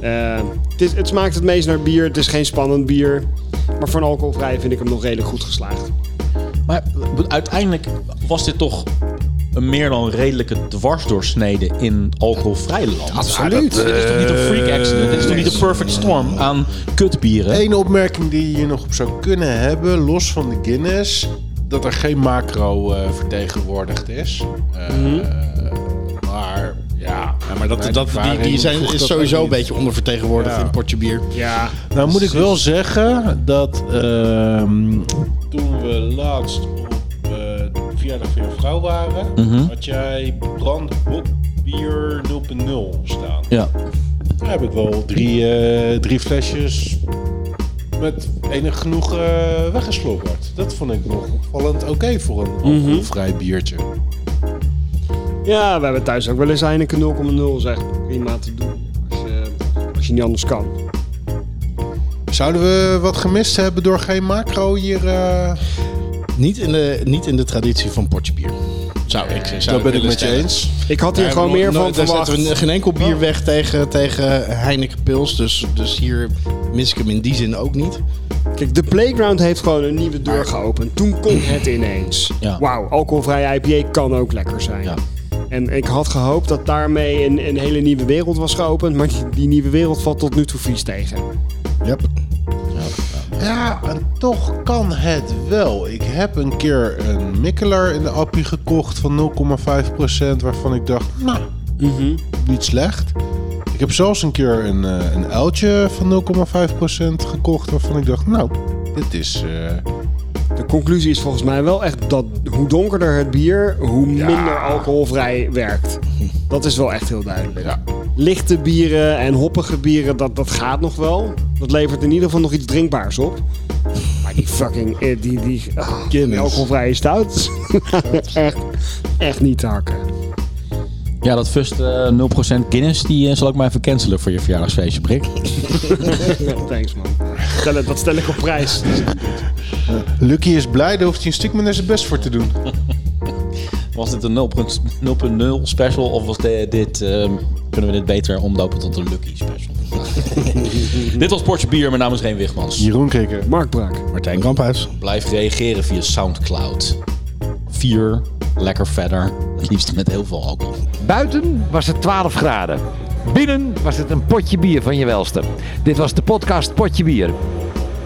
Speaker 4: Eh, het, is, het smaakt het meest naar bier. Het is geen spannend bier. Maar voor een alcoholvrij vind ik hem nog redelijk goed geslaagd.
Speaker 1: Maar uiteindelijk was dit toch een meer dan redelijke dwarsdoorsnede in alcoholvrij land.
Speaker 2: Absoluut.
Speaker 1: Dit is toch niet een freak accident? Dit is toch niet een perfect storm aan kutbieren?
Speaker 5: Eén opmerking die je hier nog op zou kunnen hebben, los van de Guinness, dat er geen macro eh, vertegenwoordigd is. Eh, Maar ja, maar dat,
Speaker 2: Mhm. Dat, die die zijn, is sowieso een beetje ondervertegenwoordigd
Speaker 5: Ja.
Speaker 2: in potje bier.
Speaker 4: Ja,
Speaker 5: Nou moet ik wel zeggen dat ehm, toen we laatst op eh, de verjaardag van je vrouw waren,
Speaker 2: Mhm.
Speaker 5: had jij brandbokbier 0.0 staan.
Speaker 1: Ja.
Speaker 5: Daar heb ik wel drie, eh, drie flesjes met enig genoegen weggeslobberd. Dat vond ik nog opvallend oké voor een alcoholvrij biertje.
Speaker 4: ja we hebben thuis ook wel eens Heineken 0,0 zeg. Prima te doen. Als je, als je niet anders kan.
Speaker 5: Zouden we wat gemist hebben door geen macro hier? eh?
Speaker 2: Niet in de, niet in de traditie van potje bier. Zou ik zou
Speaker 5: dat ben ik
Speaker 2: willen
Speaker 5: met je
Speaker 2: stellen.
Speaker 5: eens.
Speaker 4: Ik had hier
Speaker 2: Ja,
Speaker 4: gewoon
Speaker 2: we-
Speaker 4: meer
Speaker 2: no-
Speaker 4: van
Speaker 2: Daar
Speaker 4: verwacht. Oh.
Speaker 2: zetten we geen enkel bier weg tegen, tegen Heineken Pils. Dus, dus hier mis ik hem in die zin ook niet.
Speaker 4: Kijk, de Playground heeft gewoon een nieuwe deur geopend. Toen kon het ineens.
Speaker 1: Ja.
Speaker 4: Wauw, alcoholvrij IPA kan ook lekker zijn.
Speaker 1: Ja.
Speaker 4: En ik had gehoopt dat daarmee een, een hele nieuwe wereld was geopend. Maar die, die nieuwe wereld valt tot nu toe vies tegen.
Speaker 2: Yep.
Speaker 5: Ja, en toch kan het wel. Ik heb een keer een Mikkeler in de appie gekocht van 0,5%, waarvan ik dacht, nou, niet slecht. Ik heb zelfs een keer een, eh, een uiltje van 0,5% gekocht, waarvan ik dacht, nou, dit is... eh,
Speaker 4: De conclusie is volgens mij wel echt dat hoe donkerder het bier, hoe minder alcoholvrij werkt. Dat is wel echt heel duidelijk.
Speaker 5: ja.
Speaker 4: Lichte bieren en hoppige bieren, dat, dat gaat nog wel. Dat levert in ieder geval nog iets drinkbaars op. Maar die fucking, eh, die, die, ah, die alcoholvrije stout, (laughs) echt, echt niet te hakken.
Speaker 1: Ja, dat first eh, 0% Guinness, die eh, zal ik maar even cancelen voor je verjaardagsfeestje, Brik.
Speaker 4: Thanks man. Stel het- Dat stel ik op prijs.
Speaker 5: Lucky is blij, daar hoeft hij een stuk minder zijn best voor te doen.
Speaker 1: Was dit een 0.0 special of was de- dit, ehm, kunnen we dit beter omdopen tot een Lucky special? (laughs) dit was Portje Bier, mijn naam is Reen Wichmans.
Speaker 5: Jeroen Krikker.
Speaker 4: Mark Brak.
Speaker 2: Martijn Kamphuis.
Speaker 1: Blijf reageren via Soundcloud. Vier, lekker verder. Het liefst met heel veel alcohol.
Speaker 6: Buiten was het 12 graden. Binnen was het een potje bier van je welste. Dit was de podcast Potje Bier.